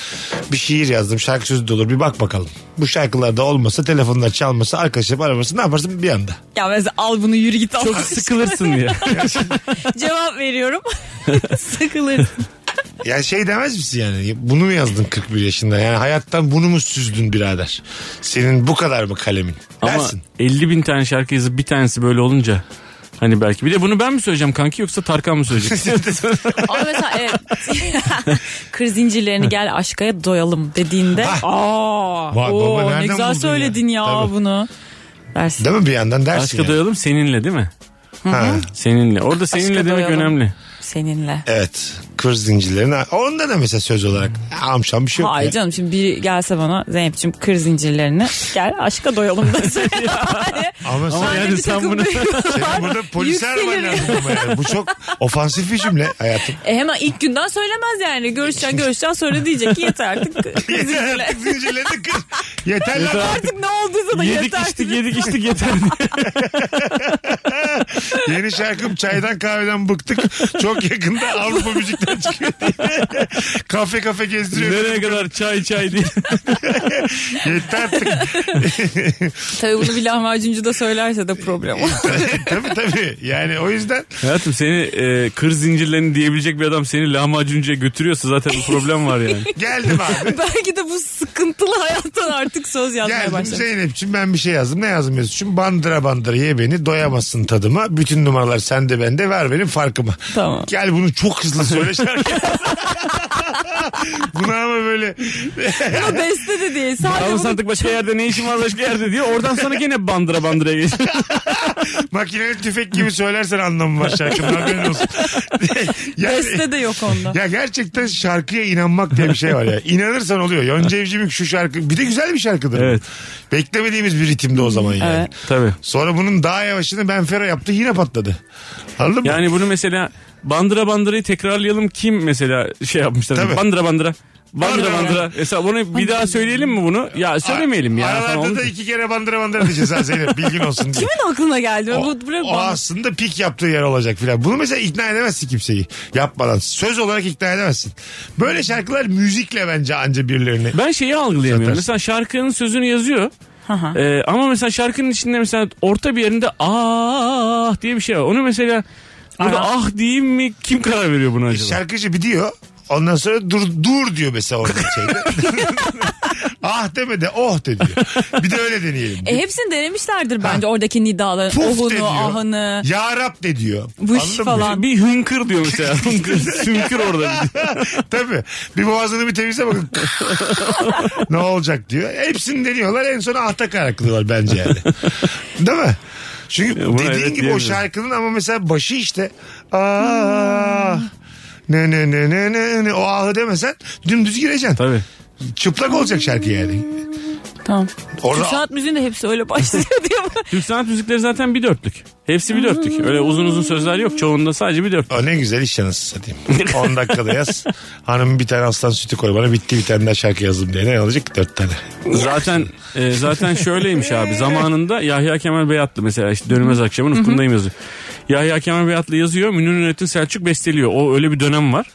S1: bir şiir yazdım şarkı sözü de olur bir bak bakalım. Bu şarkılarda olmasa telefonlar çalmasa arkadaşlarım aramasa ne yaparsın bir anda?
S2: Ya mesela al bunu yürü git al.
S3: Çok sıkılırsın diye.
S2: <laughs> Cevap veriyorum. <laughs> Sıkılır.
S1: Ya şey demez misin yani bunu mu yazdın 41 yaşında yani hayattan bunu mu süzdün birader? Senin bu kadar mı kalemin?
S3: Ama
S1: Dersin.
S3: 50 bin tane şarkı yazıp bir tanesi böyle olunca Hani belki. Bir de bunu ben mi söyleyeceğim kanki yoksa Tarkan mı <laughs> söyleyecek?
S2: Ama mesela evet. <laughs> Kır zincirlerini gel aşkaya doyalım dediğinde. Aa,
S1: Vay,
S2: oo,
S1: baba, nereden
S2: ne güzel
S1: buldun
S2: söyledin
S1: ya?
S2: ya,
S1: Tabii.
S2: bunu. Dersin.
S1: Değil mi bir yandan dersin
S3: Aşka
S1: yani.
S3: doyalım seninle değil mi?
S1: Ha,
S3: Seninle. Orada seninle
S2: Aşka
S3: demek
S2: doyalım.
S3: önemli.
S2: Seninle.
S1: Evet. Kır zincirlerini. Onda da mesela söz olarak amşam bir şey yok.
S2: Hayır
S1: ya.
S2: canım şimdi biri gelse bana Zeynep'ciğim kır zinciirlerini gel aşka doyalım desin.
S1: Ama, sen-
S3: yani sen bunu-
S1: <laughs> senin burada polis araman lazım. ama yani. Bu çok ofansif bir cümle hayatım.
S2: E hemen ilk günden söylemez yani. Görüşeceksin görüşeceksin sonra diyecek ki yeter artık.
S1: <laughs>
S2: kır
S1: Yeter
S2: zincirle.
S1: artık zincirlerini kır. Yeter lan.
S2: artık ne olduysa da
S3: Yedik
S2: yeter.
S3: içtik yedik
S2: <laughs>
S3: içtik yeter diye.
S1: Yeni şarkım çaydan kahveden bıktık. Çok yakında Avrupa müzikten çıkıyor <laughs> diye. kafe kafe gezdiriyor.
S3: Nereye kadar çay çay diye.
S1: Yeter artık. <laughs>
S2: Tabii bunu bir lahmacuncu da söylerse
S1: <laughs>
S2: de problem olur.
S1: tabii tabii. Yani o yüzden
S3: Hayatım seni e, kır zincirlerini diyebilecek bir adam seni lahmacuncuya götürüyorsa zaten bir problem
S2: <laughs>
S3: var yani.
S1: geldim abi.
S2: Belki de bu sıkıntılı hayattan artık söz yazmaya
S1: Geldim
S2: başladı.
S1: Zeynep'ciğim ben bir şey yazdım. Ne yazdım Mesut'cum? Bandıra bandıra ye beni doyamazsın tadıma. Bütün numaralar sende bende ver benim farkıma.
S2: Tamam.
S1: Gel bunu çok hızlı söyle şarkı. <laughs> Buna ama böyle
S2: Ama beste de değil. Sadece
S3: Tamam
S2: bunu
S3: sandık başka yerde ne işin var başka yerde diyor. Oradan sonra gene bandıra bandıra geç.
S1: makineli tüfek gibi söylersen anlamı var şarkının haberin
S3: <laughs>
S1: olsun. <laughs> Yani-
S2: beste de yok onda.
S1: Ya gerçekten şarkıya inanmak diye bir şey var ya. İnanırsan oluyor.
S3: <laughs>
S1: Yonca Evcimik şu şarkı bir de güzel bir şarkıdır. bu.
S3: Evet.
S1: Beklemediğimiz bir ritimde o zaman yani.
S2: Evet.
S3: Tabii.
S1: Sonra bunun daha yavaşını Ben Fero yaptı yine patladı. Anladın mı?
S3: Yani bunu mesela bandıra bandırayı tekrarlayalım kim mesela şey yapmışlar.
S1: Tabii.
S3: Bandıra bandıra. Bandıra
S1: Bandıra
S3: bandıra. Mesela bunu bir daha söyleyelim mi bunu? Ya söylemeyelim ya.
S1: Aralarda
S3: falan olur.
S1: da iki kere bandıra bandıra diyeceğiz ha Zeynep bilgin olsun diye.
S2: Kimin aklına geldi?
S1: O,
S2: bu, bu,
S1: o aslında pik yaptığı yer olacak filan. Bunu mesela ikna edemezsin kimseyi yapmadan. Söz olarak ikna edemezsin. Böyle şarkılar müzikle bence anca birilerini.
S3: Ben şeyi algılayamıyorum.
S1: Satarsın.
S3: Mesela şarkının sözünü yazıyor.
S2: Aha.
S3: Ee, ama mesela şarkının içinde mesela orta bir yerinde ah diye bir şey var. Onu mesela burada
S2: Aha.
S3: ah diyeyim mi kim karar veriyor buna acaba?
S1: Şarkıcı bir diyor. Ondan sonra dur dur diyor mesela orada şeyde. ah deme de oh de diyor. Bir de öyle deneyelim.
S2: E hepsini denemişlerdir bence oradaki nidaların.
S1: Puf de
S2: Eh, Ohunu,
S1: diyor.
S2: ahını.
S1: Ya Rab de diyor.
S2: Vış
S1: Anladın mı?
S2: falan.
S3: Bir hınkır diyor
S1: <laughs>
S3: mesela. Hınkır, sümkür orada. bir diyor.
S1: Tabii. Bir boğazını bir temizle
S3: <laughs>
S1: bakın. ne olacak diyor. Hepsini deniyorlar. En son ahta karaklıyorlar bence yani. Değil mi? Çünkü
S3: Ya buna
S1: dediğin
S3: evet
S1: gibi o
S3: diyemiyorum.
S1: şarkının ama mesela başı işte. Aa, ne ne ne ne ne ne o ahı demesen dümdüz gireceksin.
S3: Tabii.
S1: Çıplak olacak şarkı yani.
S2: Tamam. Türk
S1: Orada
S2: sanat müziğin de hepsi öyle başlıyor diye.
S1: <laughs>
S3: Türk sanat müzikleri zaten bir dörtlük. Hepsi bir dörtlük. Öyle uzun uzun sözler yok. Çoğunda sadece bir dörtlük.
S1: O ne güzel iş yanısı satayım. 10 dakikada
S3: <laughs>
S1: yaz. Hanım bir tane aslan sütü koy bana bitti bir tane daha şarkı yazdım diye. Ne olacak? 4 tane.
S3: Zaten e, zaten şöyleymiş abi. Zamanında Yahya Kemal Beyatlı mesela işte dönmez akşamın ufkundayım yazıyor. Yahya Kemal Beyatlı yazıyor. Münir Nurettin Selçuk besteliyor. O öyle bir dönem var.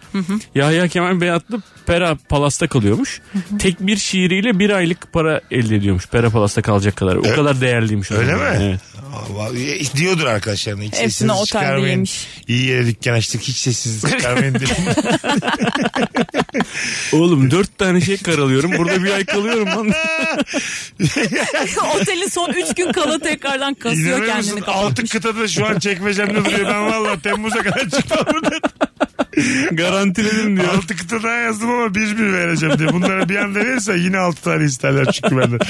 S3: Yahya Kemal Beyatlı Pera Palas'ta kalıyormuş. Tek bir şiiriyle bir aylık para elde ediyormuş. Pera Palas'ta kalacak kadar. O kadar değerliymiş. o
S1: E, Öyle mi?
S3: zaman. Evet.
S1: Allah, e, diyordur arkadaşlarına. Hiç
S2: Hepsini
S1: sesinizi
S2: otelde
S1: çıkarmayın.
S2: yemiş.
S1: İyi yere dükkan açtık. Hiç
S2: <laughs>
S1: sessizlik çıkarmayın dedim.
S3: Oğlum dört tane şey karalıyorum. Burada bir ay kalıyorum
S1: <laughs>
S3: lan.
S2: <laughs> Otelin son 3 gün kala tekrardan kasıyor
S1: İnanır mısın?
S2: kendini.
S1: Altı kıtada şu an çekmecemde duruyor. Ben valla Temmuz'a kadar çıkmam buradan.
S3: Garantiledim diyor.
S1: Altı kıta daha yazdım ama bir bir vereceğim diye. Bunlara bir anda verirse yine altı tane isterler çünkü benden. <laughs>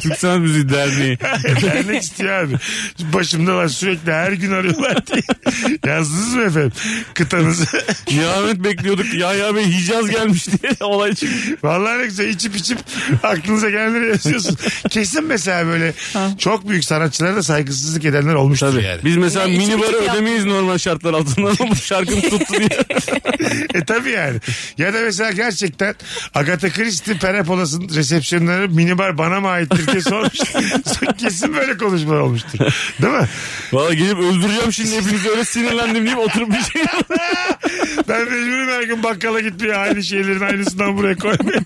S3: Türk Sanat Müziği Derneği.
S1: Dernek E, istiyor abi. Başımdalar sürekli her gün arıyorlar diye. Yazdınız mı efendim kıtanızı?
S3: Nihamet bekliyorduk. Yahya Bey Hicaz gelmiş diye <laughs> olay çıktı.
S1: Vallahi ne güzel içip içip aklınıza gelenleri yazıyorsun. Kesin mesela böyle çok büyük sanatçılara da saygısızlık edenler olmuştur yani.
S3: Biz mesela
S2: Ne, içim
S3: minibarı
S2: içim
S3: ödemeyiz normal şartlar altında <laughs> ama bu şarkını tuttu diye.
S1: E tabii yani. Ya da mesela gerçekten Agatha Christie Perepolas'ın resepsiyonları minibar bana mı aittir diye sormuş. <laughs> Kesin böyle konuşmalar olmuştur. Değil mi?
S3: Valla gelip öldüreceğim şimdi hepinizi öyle sinirlendim deyip oturup bir şey
S1: Ben mecburum her gün bakkala gitmeye aynı şeylerin aynısından buraya koymaya.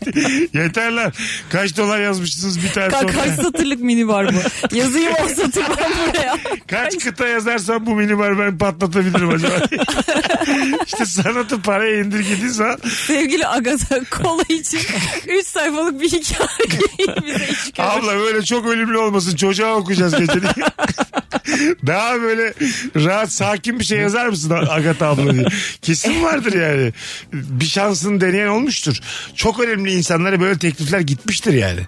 S1: Yeter lan. Kaç dolar yazmışsınız bir tane
S2: Ka- kaç
S1: sonra.
S2: satırlık mini
S1: <laughs>
S2: var bu? Yazayım o satırdan buraya.
S1: Kaç kıta yazarsan bu minibar ben patlatabilirim acaba. işte sanatı paraya indirgediği zaman
S2: Sevgili Agatha kola için 3 sayfalık bir hikayeyi bize iç
S1: abla böyle çok ölümlü olmasın çocuğa okuyacağız gece diye. Daha böyle rahat sakin bir şey yazar mısın Agatha abla diye. Kesin vardır yani. Bir şansını deneyen olmuştur. Çok önemli insanlara böyle teklifler gitmiştir yani.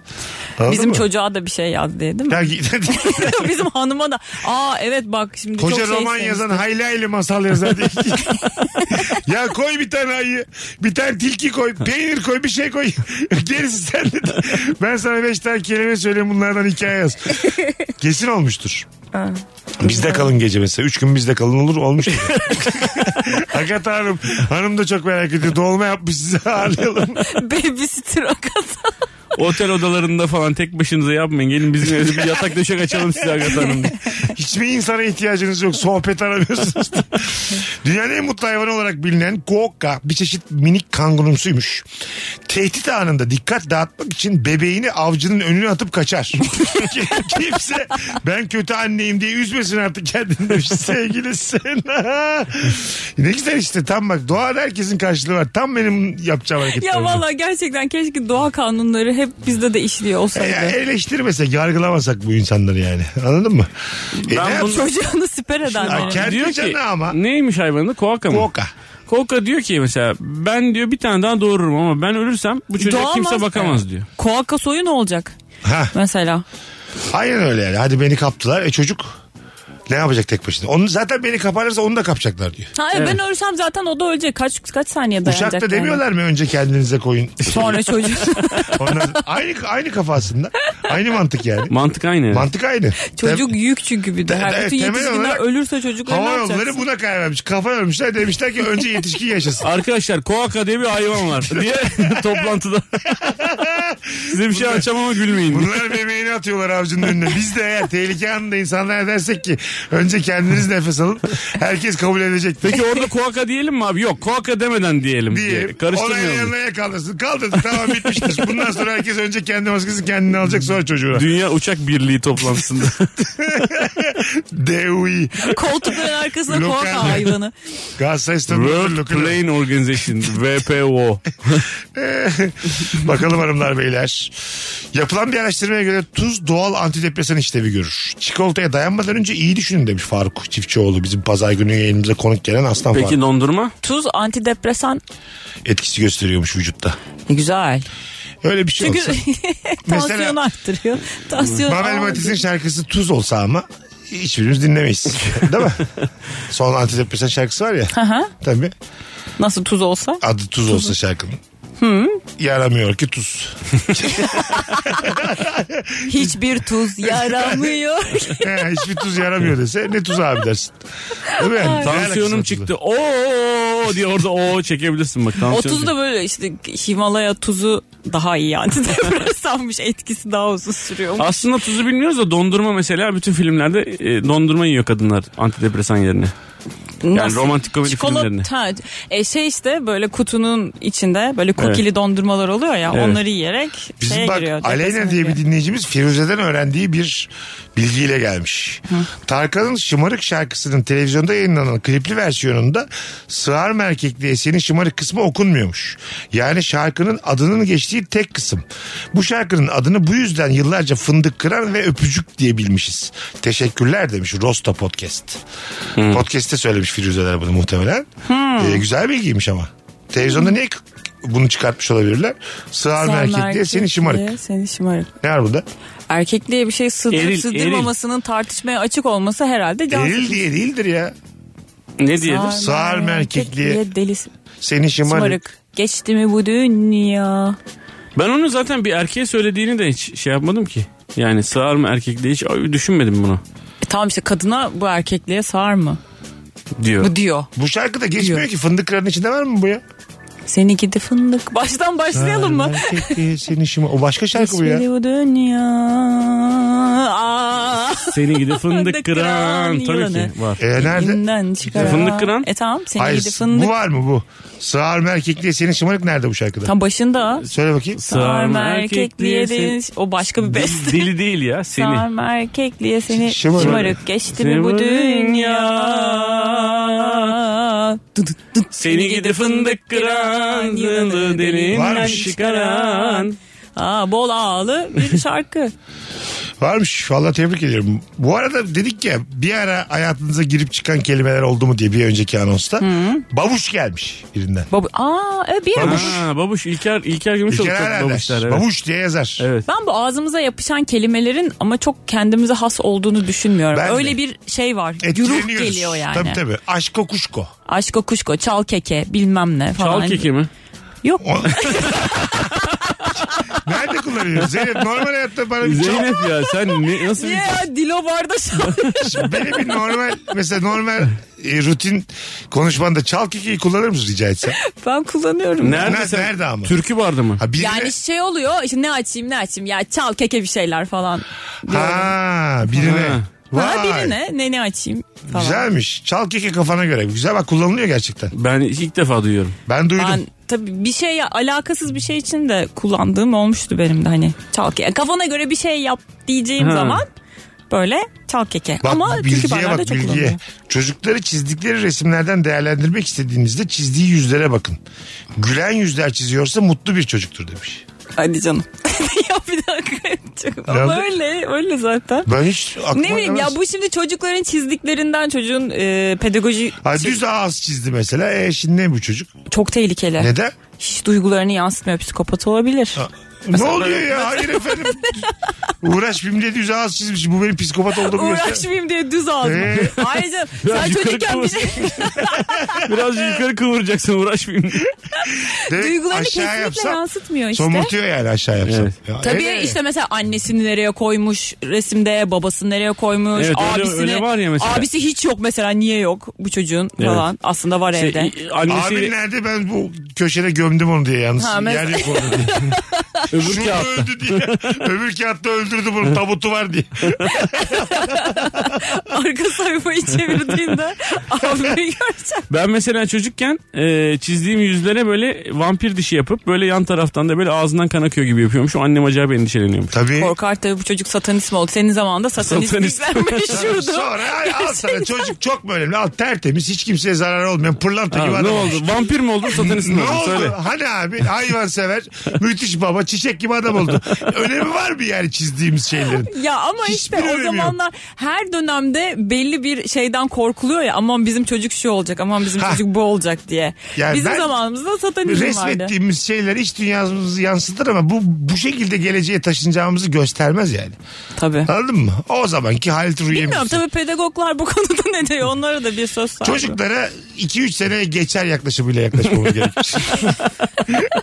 S1: Anladın
S2: Bizim
S1: mı?
S2: çocuğa da bir şey yaz diye değil mi?
S1: Ya git- <laughs>
S2: <laughs> Bizim hanıma da. Aa evet bak şimdi
S1: Koca
S2: çok şey
S1: roman
S2: istemiş.
S1: yazan hayli hayli masal yazar diye. <laughs> ya koy bir tane ayı, bir tane tilki koy, peynir koy, bir şey koy. <laughs> Gerisi sende. Ben sana beş tane kelime söyleyeyim bunlardan hikaye yaz. Kesin olmuştur. Bizde kalın gece mesela. Üç gün bizde kalın olur
S2: <laughs>
S1: olmuştur. Agatha Hanım. Hanım da çok merak ediyor. Dolma yapmış size ağırlayalım.
S2: <laughs> Babysitter Agatha.
S3: <laughs> Otel odalarında falan tek başınıza yapmayın. Gelin bizim evde bir yatak döşek açalım size
S1: <laughs>
S3: Agatha Hanım diye.
S1: Hiçbir insana ihtiyacınız yok. Sohbet aramıyorsunuz. Dünyanın en mutlu hayvanı olarak bilinen kuokka bir çeşit minik kangurumsuymuş. Tehdit anında dikkat dağıtmak için bebeğini avcının önüne atıp kaçar. Kimse ben kötü anneyim diye üzmesin artık kendini demiş. Sevgili Sena. <laughs> ne güzel işte tam bak doğada herkesin karşılığı var. Tam benim yapacağım hareketler.
S2: ya
S1: bunlar.
S2: valla gerçekten keşke doğa kanunları hep bizde de işliyor
S1: E, ya
S2: olsaydı.
S1: eleştirmesek, yargılamasak bu insanları yani. Anladın mı? E,
S3: Ben
S1: ne
S3: bunu-
S1: yapsın?
S2: Çocuğunu siper edenlerin.
S1: Erkek canı ama.
S3: neymiş hayvanın adı? Koaka mı?
S1: Kuokka.
S3: Koaka diyor ki mesela ben diyor bir tane daha doğururum ama ben ölürsem bu çocuğa
S2: Doğamaz.
S3: kimse bakamaz diyor.
S2: Koaka soyu ne olacak?
S1: Ha.
S2: Mesela.
S1: Aynen öyle yani. Hadi beni kaptılar. E çocuk ne yapacak tek başına? Onu zaten beni kaparlarsa onu da kapacaklar diyor.
S2: Ha, e, Ben ölsem zaten o da ölecek. Kaç kaç saniye dayanacak?
S1: Uçakta
S2: yani?
S1: demiyorlar mı önce kendinize koyun. <laughs>
S2: Sonra çocuğu.
S1: Ondan, aynı aynı kafasında. Aynı mantık yani.
S3: Mantık aynı.
S1: Mantık aynı.
S2: Çocuk yük çünkü bir de.
S1: Tem-
S2: Her
S1: tem-
S2: bütün
S1: temel
S2: yetişkinler
S1: olarak
S2: ölürse çocuklar ne
S1: Hava
S2: yapacaksın?
S1: yolları buna karar vermiş. Kafa vermişler. Demişler ki önce yetişkin
S3: <laughs>
S1: yaşasın.
S3: Arkadaşlar koaka diye bir hayvan
S1: <laughs>
S3: var diye <laughs> toplantıda. Size bir şey açacağım ama gülmeyin. diye.
S1: Bunlar bebeğini atıyorlar avcının önüne. Biz de eğer tehlike anında insanlara dersek ki önce kendiniz nefes alın. Herkes kabul edecek.
S3: Peki
S2: <laughs>
S3: orada koaka diyelim mi abi? Yok koaka demeden diyelim.
S1: diye.
S3: diye.
S1: Ona
S3: Karıştırmayalım.
S1: yanına kaldırsın. Kaldırdı tamam bitmiştir. Bundan sonra herkes önce kendi maskesini kendine alacak sonra çocuğuna.
S3: <laughs> Dünya Uçak Birliği toplantısında.
S1: DUI.
S2: Koltukların arkasına
S1: Lokal-
S2: koaka hayvanı.
S1: Galatasaray
S3: World
S1: Stadı'nın
S3: Plane Organization VPO.
S1: Bakalım hanımlar beyler. Yapılan bir araştırmaya göre tuz doğal antidepresan işlevi görür. Çikolataya dayanmadan önce iyi düşünün demiş Faruk Çiftçioğlu. Bizim pazar günü yayınımıza konuk gelen aslan
S3: Peki
S1: Faruk.
S3: dondurma?
S2: Tuz antidepresan.
S1: Etkisi gösteriyormuş vücutta.
S2: E, güzel.
S1: Öyle bir şey
S2: Çünkü
S1: olsa.
S2: <laughs> tansiyonu
S1: Mesela-
S2: arttırıyor. Tansiyon.
S1: Babel
S2: Aa,
S1: Matiz'in şarkısı tuz olsa ama hiçbirimiz
S3: <laughs>
S1: dinlemeyiz. Değil mi? Son antidepresan şarkısı var ya.
S2: Aha.
S1: Tabii.
S2: Nasıl tuz olsa?
S1: Adı tuz olsa şarkının. Yaramıyor ki tuz.
S2: Hiçbir tuz
S3: <laughs>
S2: yaramıyor.
S1: He, <laughs> Hiçbir tuz yaramıyor dese ne tuz abi dersin. Değil mi? Ne alakası var
S3: Tansiyonum
S1: tuzla?
S3: çıktı. Oo diye orada o çekebilirsin bak
S2: o
S3: tansiyon.
S2: tuz da böyle işte Himalaya tuzu daha iyi <laughs> antidepresanmış etkisi daha uzun sürüyor.
S3: Aslında tuzu bilmiyoruz da dondurma mesela bütün filmlerde e, dondurma yiyor kadınlar antidepresan yerine. Yani romantik komedi filmlerini.
S2: Ha, e, şey işte böyle kutunun içinde böyle kokili dondurmalar oluyor ya
S3: Evet.
S2: onları yiyerek
S1: Bizim
S2: şeye
S1: bak
S2: giriyor. depresyona
S1: Aleyna diye
S2: giriyor.
S1: bir dinleyicimiz Firuze'den öğrendiği bir bilgiyle gelmiş. Tarkan'ın Şımarık şarkısının televizyonda yayınlanan klipli versiyonunda sığar mı erkek diye senin şımarık kısmı okunmuyormuş. Yani şarkının adının geçtiği tek kısım. Bu şarkının adını bu yüzden yıllarca fındık kıran ve öpücük diye bilmişiz. Teşekkürler demiş Rosta Podcast. Podcast'te söylemiş Firuze'ler bunu muhtemelen. Ee, güzel bilgiymiş ama. Televizyonda niye k- bunu çıkartmış olabilirler? Sığar mı
S2: Sen
S1: erkek diye senin şımarık.
S2: diye Seni şımarık.
S1: Ne var burada?
S2: Erkekliğe bir şey sığdırıp
S3: Eril,
S2: sığdırmamasının tartışmaya açık olması herhalde can
S1: Eril diye değildir ya.
S3: Ne diyelim?
S1: Sağır mı erkekliğe?
S2: Deli
S1: <laughs> Senin şımarık.
S2: şımarık. Geçti mi bu dünya?
S3: Ben onu zaten bir erkeğe söylediğini de hiç şey yapmadım ki. Yani sığar mı erkek diye hiç ay, düşünmedim bunu
S2: E, tamam işte kadına bu erkekliğe sağır mı?
S3: diyor.
S2: Bu diyor.
S1: Bu şarkıda geçmiyor
S2: Yok.
S1: ki fındık kıranın içinde var mı bu ya?
S2: Seninki de fındık. Baştan başlayalım mı?
S1: Erkekliğe senin şımarık. O başka şarkı bu ya.
S2: Geçmedi bu
S3: <laughs>
S2: dünya. Aa.
S3: Seni
S2: <laughs>
S3: gidi fındık kıran.
S2: Kıran
S3: Tabii
S2: yılanı.
S3: ki var.
S1: E nerede?
S2: Elimden çıkaran.
S3: Fındık kıran?
S2: E tamam seninki
S1: Hayır
S2: de fındık.
S1: bu var mı bu? Sığar mı erkek diye senin şımarık nerede bu şarkıda?
S2: Tam başında.
S1: Söyle bakayım.
S2: Sağır mı erkekliğe de... O başka bir beste.
S3: Dil- Dili değil <laughs> ya seni.
S2: Sağır mı erkekliğe seni
S1: Şımarık.
S2: şımarık, geçti
S3: Seni
S2: mi
S3: bu
S2: bu dünya? Dı dı dı.
S3: Seni gidi fındık kıran, yılı derinden
S1: Varmış.
S3: çıkaran.
S2: Aa, bol ağalı bir şarkı.
S1: Varmış. Valla tebrik ediyorum. Bu arada dedik ya bir ara hayatınıza girip çıkan kelimeler oldu mu diye bir önceki anonsta. Babuş gelmiş birinden.
S2: Baba, aa, e, bir
S1: Babuş.
S3: Ha, babuş İlker, İlker
S1: Bir
S3: Gümüşoluk
S1: kere
S3: çok
S1: herhalde.
S3: babuşlar. Evet.
S1: Babuş diye yazar.
S3: Evet.
S2: Ben bu ağzımıza yapışan kelimelerin ama çok kendimize has olduğunu düşünmüyorum.
S1: Ben de.
S2: Öyle bir şey var. Yuruh
S1: Etkileniyoruz.
S2: geliyor yani.
S1: Tabii tabii. Aşko kuşko.
S2: Aşko kuşko, çal keke, bilmem ne falan.
S3: Çal keki mi?
S2: Yok.
S3: <laughs>
S1: O- <laughs> Nerede kullanıyorsun? Zeynep normal hayatta bana bir çal.
S3: Zeynep ya sen ne, nasıl
S2: Niye
S3: bir...
S2: ya dilo barda çal.
S1: Beni bir normal mesela normal e, rutin konuşmanda çal kikiyi kullanır mısın rica etsem?
S2: <laughs> ben kullanıyorum.
S3: Nerede,
S1: Nerede,
S3: sen?
S1: nerede ama?
S3: Türkü vardı mı?
S1: Ha, birine-
S2: Yani şey oluyor işte ne açayım ne açayım ya çal keke bir şeyler falan.
S1: ha birine.
S3: Ha.
S2: Bana
S1: Vay.
S2: birine ne ne açayım falan.
S1: Güzelmiş. Çal kiki kafana göre. Güzel bak kullanılıyor gerçekten.
S3: Ben ilk
S1: <laughs>
S3: defa duyuyorum.
S1: Ben duydum.
S2: Ben tabii bir şey alakasız bir şey için de kullandığım olmuştu benim de hani çal keke. Kafana göre bir şey yap diyeceğim
S3: Ha.
S2: zaman böyle çal keke.
S1: Bak
S2: Ama türkü
S1: bilgiye
S2: barlarda
S1: bak
S2: çok
S1: bilgiye.
S2: kullanılıyor.
S1: Çocukları çizdikleri resimlerden değerlendirmek istediğinizde çizdiği yüzlere bakın. Gülen yüzler çiziyorsa mutlu bir çocuktur demiş.
S2: Hadi canım. <laughs> ya bir dakika. Çok-
S1: Ne oldu?
S2: Ama öyle öyle zaten.
S1: Ben hiç aklıma
S2: Ne bileyim ya
S1: gelmez.
S2: bu şimdi çocukların çizdiklerinden çocuğun e, pedagoji
S1: Ha,
S2: şey-
S1: düz ağız çizdi mesela. E şimdi ne bu çocuk?
S2: çok tehlikeli.
S1: Neden?
S2: Hiç duygularını yansıtmıyor psikopat olabilir.
S1: ne oluyor ya? Hayır efendim. Uğraş bimle düz ağız çizmiş. Bu benim psikopat olduğumu göster.
S2: Uğraşmayayım diye düz ağzım.
S1: Ee?
S2: Ayrıca
S3: <laughs> Ya
S2: sen
S3: yukarı
S2: çocukken bir şey
S3: <laughs> Biraz yukarı kıvıracaksın uğraşmayayım diye.
S1: Demek
S2: duygularını
S1: aşağı
S2: kesinlikle
S1: yapsam
S2: yansıtmıyor işte.
S1: Somurtuyor yani aşağı yapsam.
S3: Evet.
S1: Ya,
S2: Tabii
S1: evet.
S2: işte mesela annesini nereye koymuş resimde, babasını nereye koymuş,
S3: Evet, öyle-
S2: abisini.
S3: öyle var ya mesela.
S2: Abisi hiç yok mesela niye yok bu çocuğun
S3: Evet.
S2: falan. Aslında var
S3: Şey,
S2: evde.
S3: i-
S1: Abin
S3: annesiyle
S1: nerede ben bu köşede gömdüm onu diye yalnız.
S2: Ha, mes-
S1: Yer
S2: <laughs>
S1: yok orada diye.
S3: öbür
S1: Şurada
S3: kağıtta.
S1: öldü diye. Öbür kağıtta öldürdü bunu tabutu var diye.
S2: <laughs> Arka sayfayı çevirdiğinde
S3: <laughs>
S2: abimi görecek.
S3: Ben mesela çocukken e, çizdiğim yüzlere böyle vampir dişi yapıp böyle yan taraftan da böyle ağzından kan akıyor gibi yapıyormuş. O annem acayip endişeleniyormuş.
S1: Tabii.
S2: Korkar tabii bu çocuk satanist mi oldu? Senin zamanında
S3: E- Satanist.
S2: satanistlikler
S3: <laughs>
S2: meşhurdu.
S1: Sonra ay, al sana çocuk çok mu önemli? Al tertemiz hiç kimseye zararı olmayan pırlanta
S3: Ha,
S1: gibi
S3: ne
S1: adam. <laughs>
S3: oldu? Vampir mi oldun satanist mi
S1: Ne
S3: oldun?
S1: oldu?
S3: Söyle.
S1: Hani abi hayvan sever müthiş baba çiçek gibi adam oldu. Önemi var mı yani çizdiğimiz şeylerin?
S2: Ya ama
S1: Hiçbir
S2: işte o
S1: önemi yok.
S2: zamanlar her dönemde belli bir şeyden korkuluyor ya aman bizim çocuk şu olacak aman bizim
S1: Ha.
S2: çocuk bu olacak diye.
S1: Yani
S2: bizim
S1: ben-
S2: zamanımızda satanizm vardı.
S1: Resmettiğimiz şeyler iç dünyamızı yansıtır ama bu bu şekilde geleceğe taşınacağımızı göstermez yani.
S2: Tabii.
S1: Anladın mı? O zamanki Halit
S2: Bilmiyorum
S1: Rüyemiz.
S2: tabii pedagoglar bu konuda <laughs> ne diyor onlara da bir söz sahibi.
S1: Çocuklara 2-3 sene geçer yaklaşımıyla yaklaşmamız gerekir.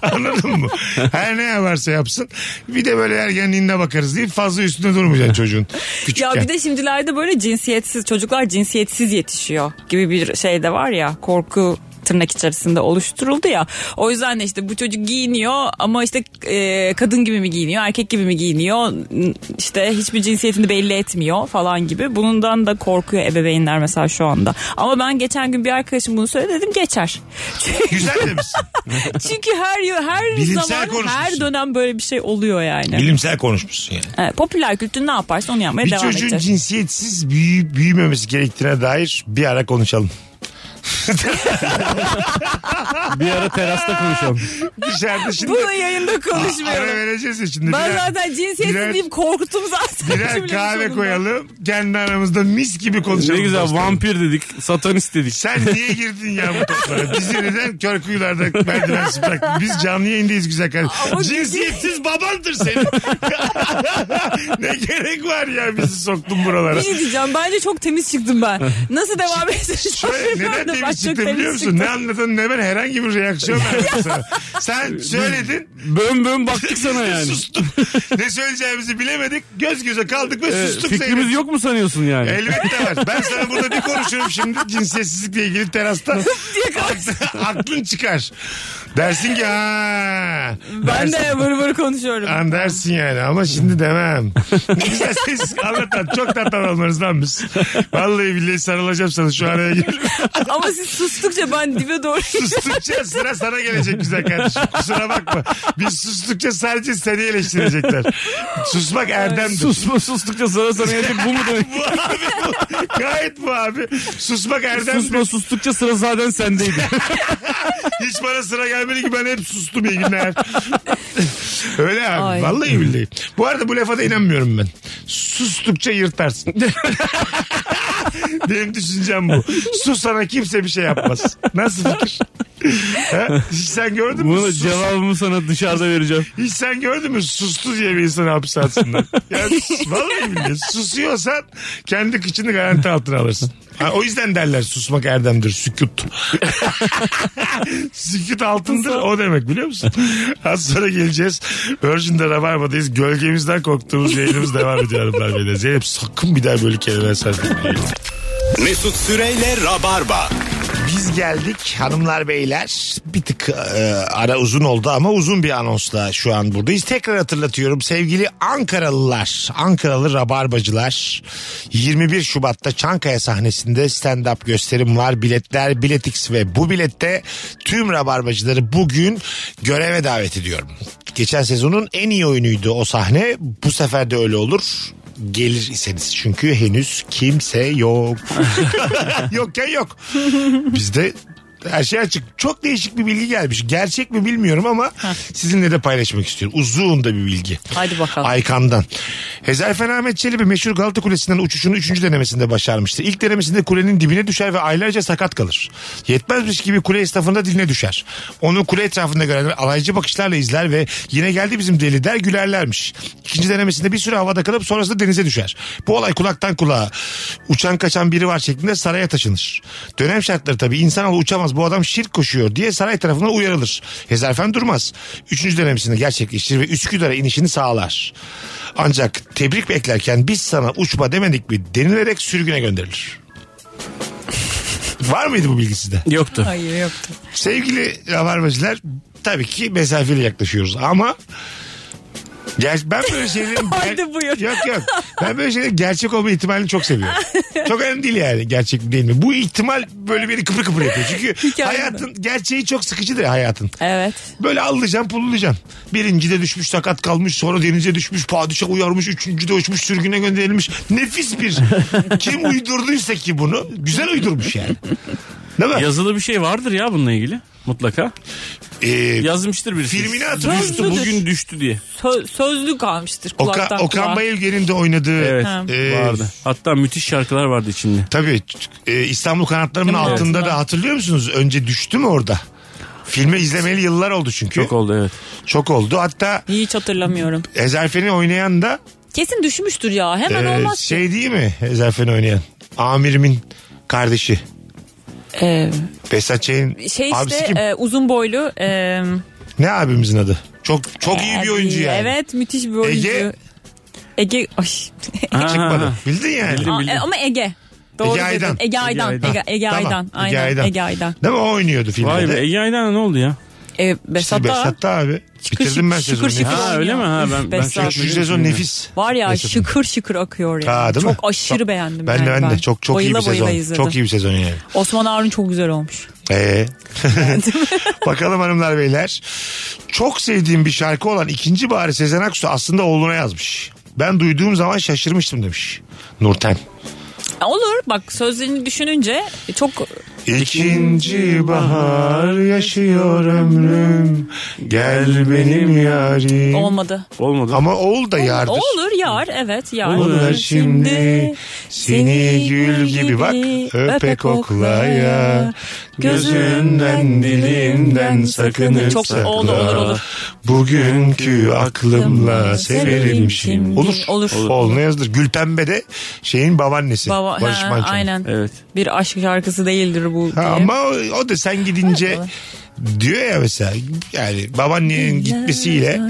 S1: Anladın mı? Her ne yaparsa yapsın. Bir de böyle ergenliğinde bakarız deyip fazla üstünde durmayacaksın çocuğun. Küçükken.
S2: Ya bir de şimdilerde böyle cinsiyetsiz çocuklar cinsiyetsiz yetişiyor gibi bir şey de var ya korku tırnak içerisinde oluşturuldu ya. O yüzden de işte bu çocuk giyiniyor ama işte e, kadın gibi mi giyiniyor, erkek gibi mi giyiniyor? n- işte hiçbir cinsiyetini belli etmiyor falan gibi. Bundan da korkuyor ebeveynler mesela şu anda. Ama ben geçen gün bir arkadaşım bunu söyledi dedim
S1: <laughs>
S2: geçer. Çünkü-
S1: Güzel demişsin.
S2: Çünkü her yıl- her
S1: Bilimsel
S2: zaman her
S1: konuşmuşsun.
S2: dönem böyle bir şey oluyor yani.
S1: Bilimsel konuşmuşsun yani.
S2: Evet, popüler kültür ne yaparsa onu yapmaya
S1: Bir
S2: E, devam
S1: çocuğun
S2: edecek.
S1: cinsiyetsiz büyü, büyümemesi gerektiğine dair bir ara konuşalım.
S3: Bir ara terasta <laughs> konuşalım.
S1: Dışarıda şimdi
S2: Bunu yayında
S1: ara
S2: konuşmuyorum.
S1: vereceğiz ya şimdi.
S2: Ben
S1: Birer-
S2: zaten cinsiyetsiz
S1: birer-
S2: deyip korktum zaten.
S1: Birer
S2: cümlenin
S1: kahve
S2: sonunda.
S1: koyalım. Kendi aramızda mis gibi konuşalım.
S3: Ne güzel
S1: dostum.
S3: vampir dedik, satanist dedik.
S1: Sen niye girdin ya bu toplara? Bizi neden kör kuyularda merdivensiz bıraktın? Biz canlı yayındayız güzel kardeşim.
S2: Ama-
S1: Cinsiyetsiz babandır senin. <laughs> ne gerek var ya bizi soktun buralara.
S2: Bir şey diyeceğim. Bence çok temiz çıktım ben.
S1: <laughs>
S2: Nasıl devam edeceğim?
S1: Şöyle neden
S2: bilmiyorum da ben
S1: temiz
S2: çok
S1: çıktı biliyor musun?
S2: çıktım.
S1: Ne anladın ne ben herhangi bir reaksiyon
S2: <laughs>
S1: verdim sana. Sen söyledin.
S3: Bön bön
S1: <laughs>
S3: baktık sana yani.
S1: Sustuk. Ne söyleyeceğimizi bilemedik. Göz göze kaldık ve
S3: Ee,
S1: sustuk.
S3: fikrimiz
S1: Zeynep.
S3: yok mu sanıyorsun yani?
S1: Elbette var. Ben sana burada bir konuşurum şimdi cinsiyetsizlikle ilgili terasta. <laughs> Aklın çıkar. Dersin ki ha. Dersin-
S2: Ben de vır
S1: <laughs>
S2: vır konuşuyorum.
S1: An dersin yani ama şimdi demem. Ne güzel siz anlatan çok tatlı adamlarız lan biz. Vallahi billahi sarılacağım sana şu araya gir.
S2: Ama siz sustukça ben dibe doğru
S1: <laughs> Sustukça sıra sana gelecek güzel kardeşim. Kusura bakma. Biz sustukça sadece seni eleştirecekler. Susmak erdemdir.
S3: Susma sustukça sana sana gelecek bu mu demek?
S1: Bu abi bu. Gayet bu abi. Susmak erdemdir.
S3: Susma sustukça sıra
S1: <laughs>
S3: zaten sendeydi.
S1: Hiç bana sıra gelmedi ki ben hep sustum iyi günler. <laughs> Öyle abi.
S2: Ay.
S1: Vallahi billahi. Bu arada bu lafa da inanmıyorum ben. Sustukça yırtarsın. Benim düşüncem bu. Susana kimse bir şey yapmaz. Nasıl fikir? Ha? Hiç sen gördün mü?
S3: Bunu
S1: Sus-
S3: cevabımı sana dışarıda vereceğim.
S1: Hiç sen gördün mü? Sustu diye bir insanı hapse atsınlar. Yani sus- vallahi billahi. Susuyorsan kendi kıçını garanti altına alırsın. Ha, o yüzden derler susmak erdemdir. Sükut. <laughs> Sükut altındır o demek biliyor musun? Az sonra geleceğiz. Virgin'de Rabarba'dayız. Gölgemizden korktuğumuz yayınımız devam ediyor hanımlar beyler. Zeynep sakın bir daha böyle kelimeler sarkmayın.
S5: Mesut Süreyle Rabarba.
S1: Biz geldik hanımlar beyler bir tık e, ara uzun oldu ama uzun bir anonsla şu an buradayız. Tekrar hatırlatıyorum sevgili Ankaralılar, Ankaralı Rabarbacılar 21 Şubat'ta Çankaya sahnesinde stand-up gösterim var. Biletler Biletix ve bu bilette tüm Rabarbacıları bugün göreve davet ediyorum. Geçen sezonun en iyi oyunuydu o sahne bu sefer de öyle olur gelir iseniz çünkü henüz kimse yok. <laughs> Yokken yok. Bizde her şey açık. Çok değişik bir bilgi gelmiş. Gerçek mi bilmiyorum ama sizinle de paylaşmak istiyorum. Uzun da bir bilgi.
S2: Hadi bakalım.
S1: Aykan'dan. Hezer Fenahmet Çelebi meşhur Galata Kulesi'nden uçuşunu 3. denemesinde başarmıştı. İlk denemesinde kulenin dibine düşer ve aylarca sakat kalır. Yetmezmiş gibi kule esnafında diline düşer. Onu kule etrafında görenler alaycı bakışlarla izler ve yine geldi bizim deli der gülerlermiş. İkinci denemesinde bir süre havada kalıp sonrasında denize düşer. Bu olay kulaktan kulağa uçan kaçan biri var şeklinde saraya taşınır. Dönem şartları tabii insanoğlu uçamaz bu adam şirk koşuyor diye saray tarafından uyarılır. Hezarfen durmaz. Üçüncü denemesini gerçekleştirir ve Üsküdar'a inişini sağlar. Ancak tebrik beklerken biz sana uçma demedik mi denilerek sürgüne gönderilir. <laughs> Var mıydı bu bilgi sizde?
S3: Yoktu.
S2: Hayır yoktu.
S1: Sevgili rabarbacılar tabii ki mesafeli yaklaşıyoruz ama Ger ben böyle
S2: <laughs>
S1: şeylerin ger-
S2: Haydi buyur.
S1: Yok yok. Ben böyle şeylerin gerçek olma ihtimalini çok
S2: <laughs>
S1: seviyorum. çok önemli değil yani gerçek mi değil mi. Bu ihtimal böyle beni kıpır kıpır yapıyor. Çünkü
S2: <laughs> Hikaye mi?
S1: hayatın gerçeği çok sıkıcıdır ya hayatın.
S2: Evet.
S1: Böyle allayacaksın pullulayacaksın. Birincide düşmüş sakat kalmış sonra denize düşmüş padişah uyarmış üçüncüde uçmuş sürgüne
S2: <laughs>
S1: gönderilmiş. Nefis bir kim uydurduysa ki bunu güzel uydurmuş yani. Değil mi?
S3: Yazılı bir şey vardır ya bununla ilgili mutlaka.
S1: Ee,
S3: Yazmıştır birisi.
S1: filmini
S3: Düştü
S1: hatırlıyorsun.
S3: bugün düştü diye.
S2: Sö- sözlü kalmıştır kulaktan
S1: Oka,
S2: kulağa.
S1: Okan Bayülgen'in de oynadığı
S3: Evet
S1: e,
S3: vardı. Hatta müthiş şarkılar vardı içinde.
S1: Tabii e, İstanbul kanatlarının
S2: Değil mi?
S1: altında
S2: Evet.
S1: da hatırlıyor musunuz? Önce düştü mü orada? Filmi izlemeli yıllar oldu çünkü.
S3: Çok oldu evet.
S1: Çok oldu. Hatta
S2: Hiç hatırlamıyorum.
S1: Ezerfen'i oynayan da
S2: Kesin düşmüştür ya. Hemen
S1: e,
S2: olmaz. ki.
S1: şey değil mi? Ezerfen'i oynayan. Amirimin kardeşi.
S2: Ee,
S1: Behzat Ç'nin
S2: şey
S1: abisi
S2: işte
S1: kim?
S2: e, uzun boylu. e,
S1: Ne abimizin adı? Çok çok iyi bir
S2: abi,
S1: oyuncu yani.
S2: Evet müthiş bir oyuncu.
S1: Ege.
S2: Ege. Ege. Ay.
S1: Çıkmadı. Bildin yani.
S3: Bildim.
S2: Aa, e, ama Ege. Doğru
S1: Ege
S2: dedin.
S1: Aydan.
S2: Ege Aydan.
S3: Ege Aydan.
S2: Ege, Ege
S1: Tamam.
S2: Aydan.
S1: Ege
S2: Aynen.
S1: Aydan.
S2: Ege Aydan.
S1: Değil mi? O oynuyordu filmde
S3: Vay be
S1: de.
S3: Ege Aydan'a ne oldu ya?
S2: E, Besat
S1: İşte
S2: da
S1: Behzat da abi. Bitirdim ben sezonu.
S2: şıkır şıkır.
S1: ya.
S3: Ha
S2: Oynuyor.
S3: öyle mi? Ha ben, ben
S2: Besat. Şu
S3: çok
S1: Şu
S3: bilmiyorum
S1: sezon
S3: ya.
S1: nefis.
S2: var ya
S1: Neyse.
S2: şıkır şıkır akıyor ya.
S1: Ha, değil mi?
S2: çok aşırı beğendim.
S1: Ben de
S2: yani
S1: ben de. Çok çok iyi
S2: Bayıla
S1: bir
S2: bayıla
S1: sezon.
S2: izledim.
S1: Çok iyi bir sezon yani.
S2: Osman Harun çok güzel olmuş.
S1: Ee. <laughs> Bakalım hanımlar beyler. Çok sevdiğim bir şarkı olan ikinci Bahar Sezen Aksu aslında oğluna yazmış. Ben duyduğum zaman şaşırmıştım demiş Nurten.
S2: Olur bak sözlerini düşününce çok
S1: İkinci bahar yaşıyor ömrüm Gel benim yarim
S2: olmadı.
S3: Olmadı.
S1: Ama oğul da yardır
S2: Olur yar evet yar.
S1: Olur şimdi seni gül gibi bak öpe koklaya gözünden dilimden sakınıp
S2: Çok
S1: sakla.
S2: oldu olur olur.
S1: Bugünkü aklımla severim şimdi. Olur.
S2: Olur. Olur.
S1: Oğluna yazılır. Gülpembe de şeyin babaannesi.
S2: Baba,
S1: Barış
S2: ha,
S1: Manço'nun.
S2: aynen.
S3: Evet.
S2: Bir aşk şarkısı değildir bu
S1: Ha,
S2: diye.
S1: ama o, o da sen gidince diyor ya mesela yani babaannenin gitmesiyle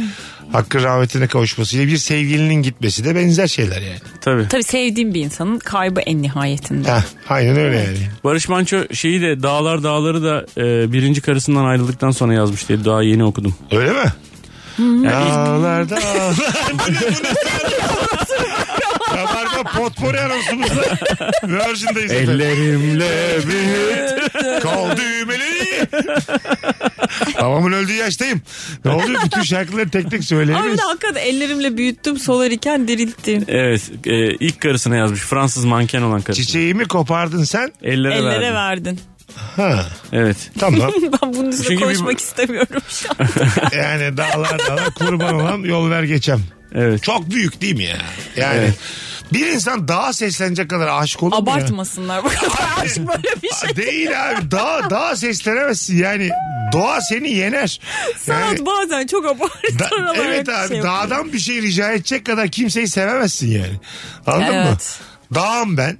S1: hakkı rahmetine kavuşmasıyla bir sevgilinin gitmesi de benzer şeyler yani.
S3: Tabii.
S2: Tabii sevdiğim bir insanın kaybı en nihayetinde.
S1: Ha, aynen öyle yani.
S3: Barış Manço şeyi de Dağlar Dağları da e, birinci karısından ayrıldıktan sonra yazmış diye daha yeni okudum.
S1: Öyle mi?
S3: Yani ilk-
S1: Dağlarda ağlar. Bu ne, bu ne? Rabarba potpori anonsumuzda Virgin'deyiz. efendim.
S3: Ellerimle büyüt.
S1: Kol düğmeli. Babamın öldüğü yaştayım. Ne oluyor? Bütün şarkıları tek tek
S2: Ama bir
S1: söyleyemeyiz.
S2: de hakikaten ellerimle büyüttüm solarken dirilttim.
S3: Evet e, ilk karısına yazmış Fransız manken olan karısı.
S1: Çiçeğimi kopardın sen.
S3: Ellere,
S2: Ellere
S3: verdim.
S2: verdin.
S1: Ha,
S3: Evet.
S1: tamam.
S2: <laughs> ben bunun üstüne
S3: Çünkü bir-
S2: konuşmak istemiyorum şu an.
S1: Yani dağlar dağlar kurban olan yol ver geçem.
S3: Evet.
S1: Çok büyük değil mi ya? Yani
S3: Evet.
S1: bir insan dağa seslenecek kadar aşık olur mu ya?
S2: Abartmasınlar <laughs> bu kadar aşk böyle bir
S1: <laughs>
S2: şey.
S1: Değil abi. Daha daha seslenemezsin yani. Doğa seni yener.
S2: Sanat
S1: Yani
S2: bazen çok
S1: da-
S2: abartı <laughs> olarak
S1: evet
S2: bir
S1: abi
S2: şey yapıyor.
S1: dağdan bir şey rica edecek kadar kimseyi sevemezsin yani. Anladın mı?
S2: Evet.
S1: Dağım ben.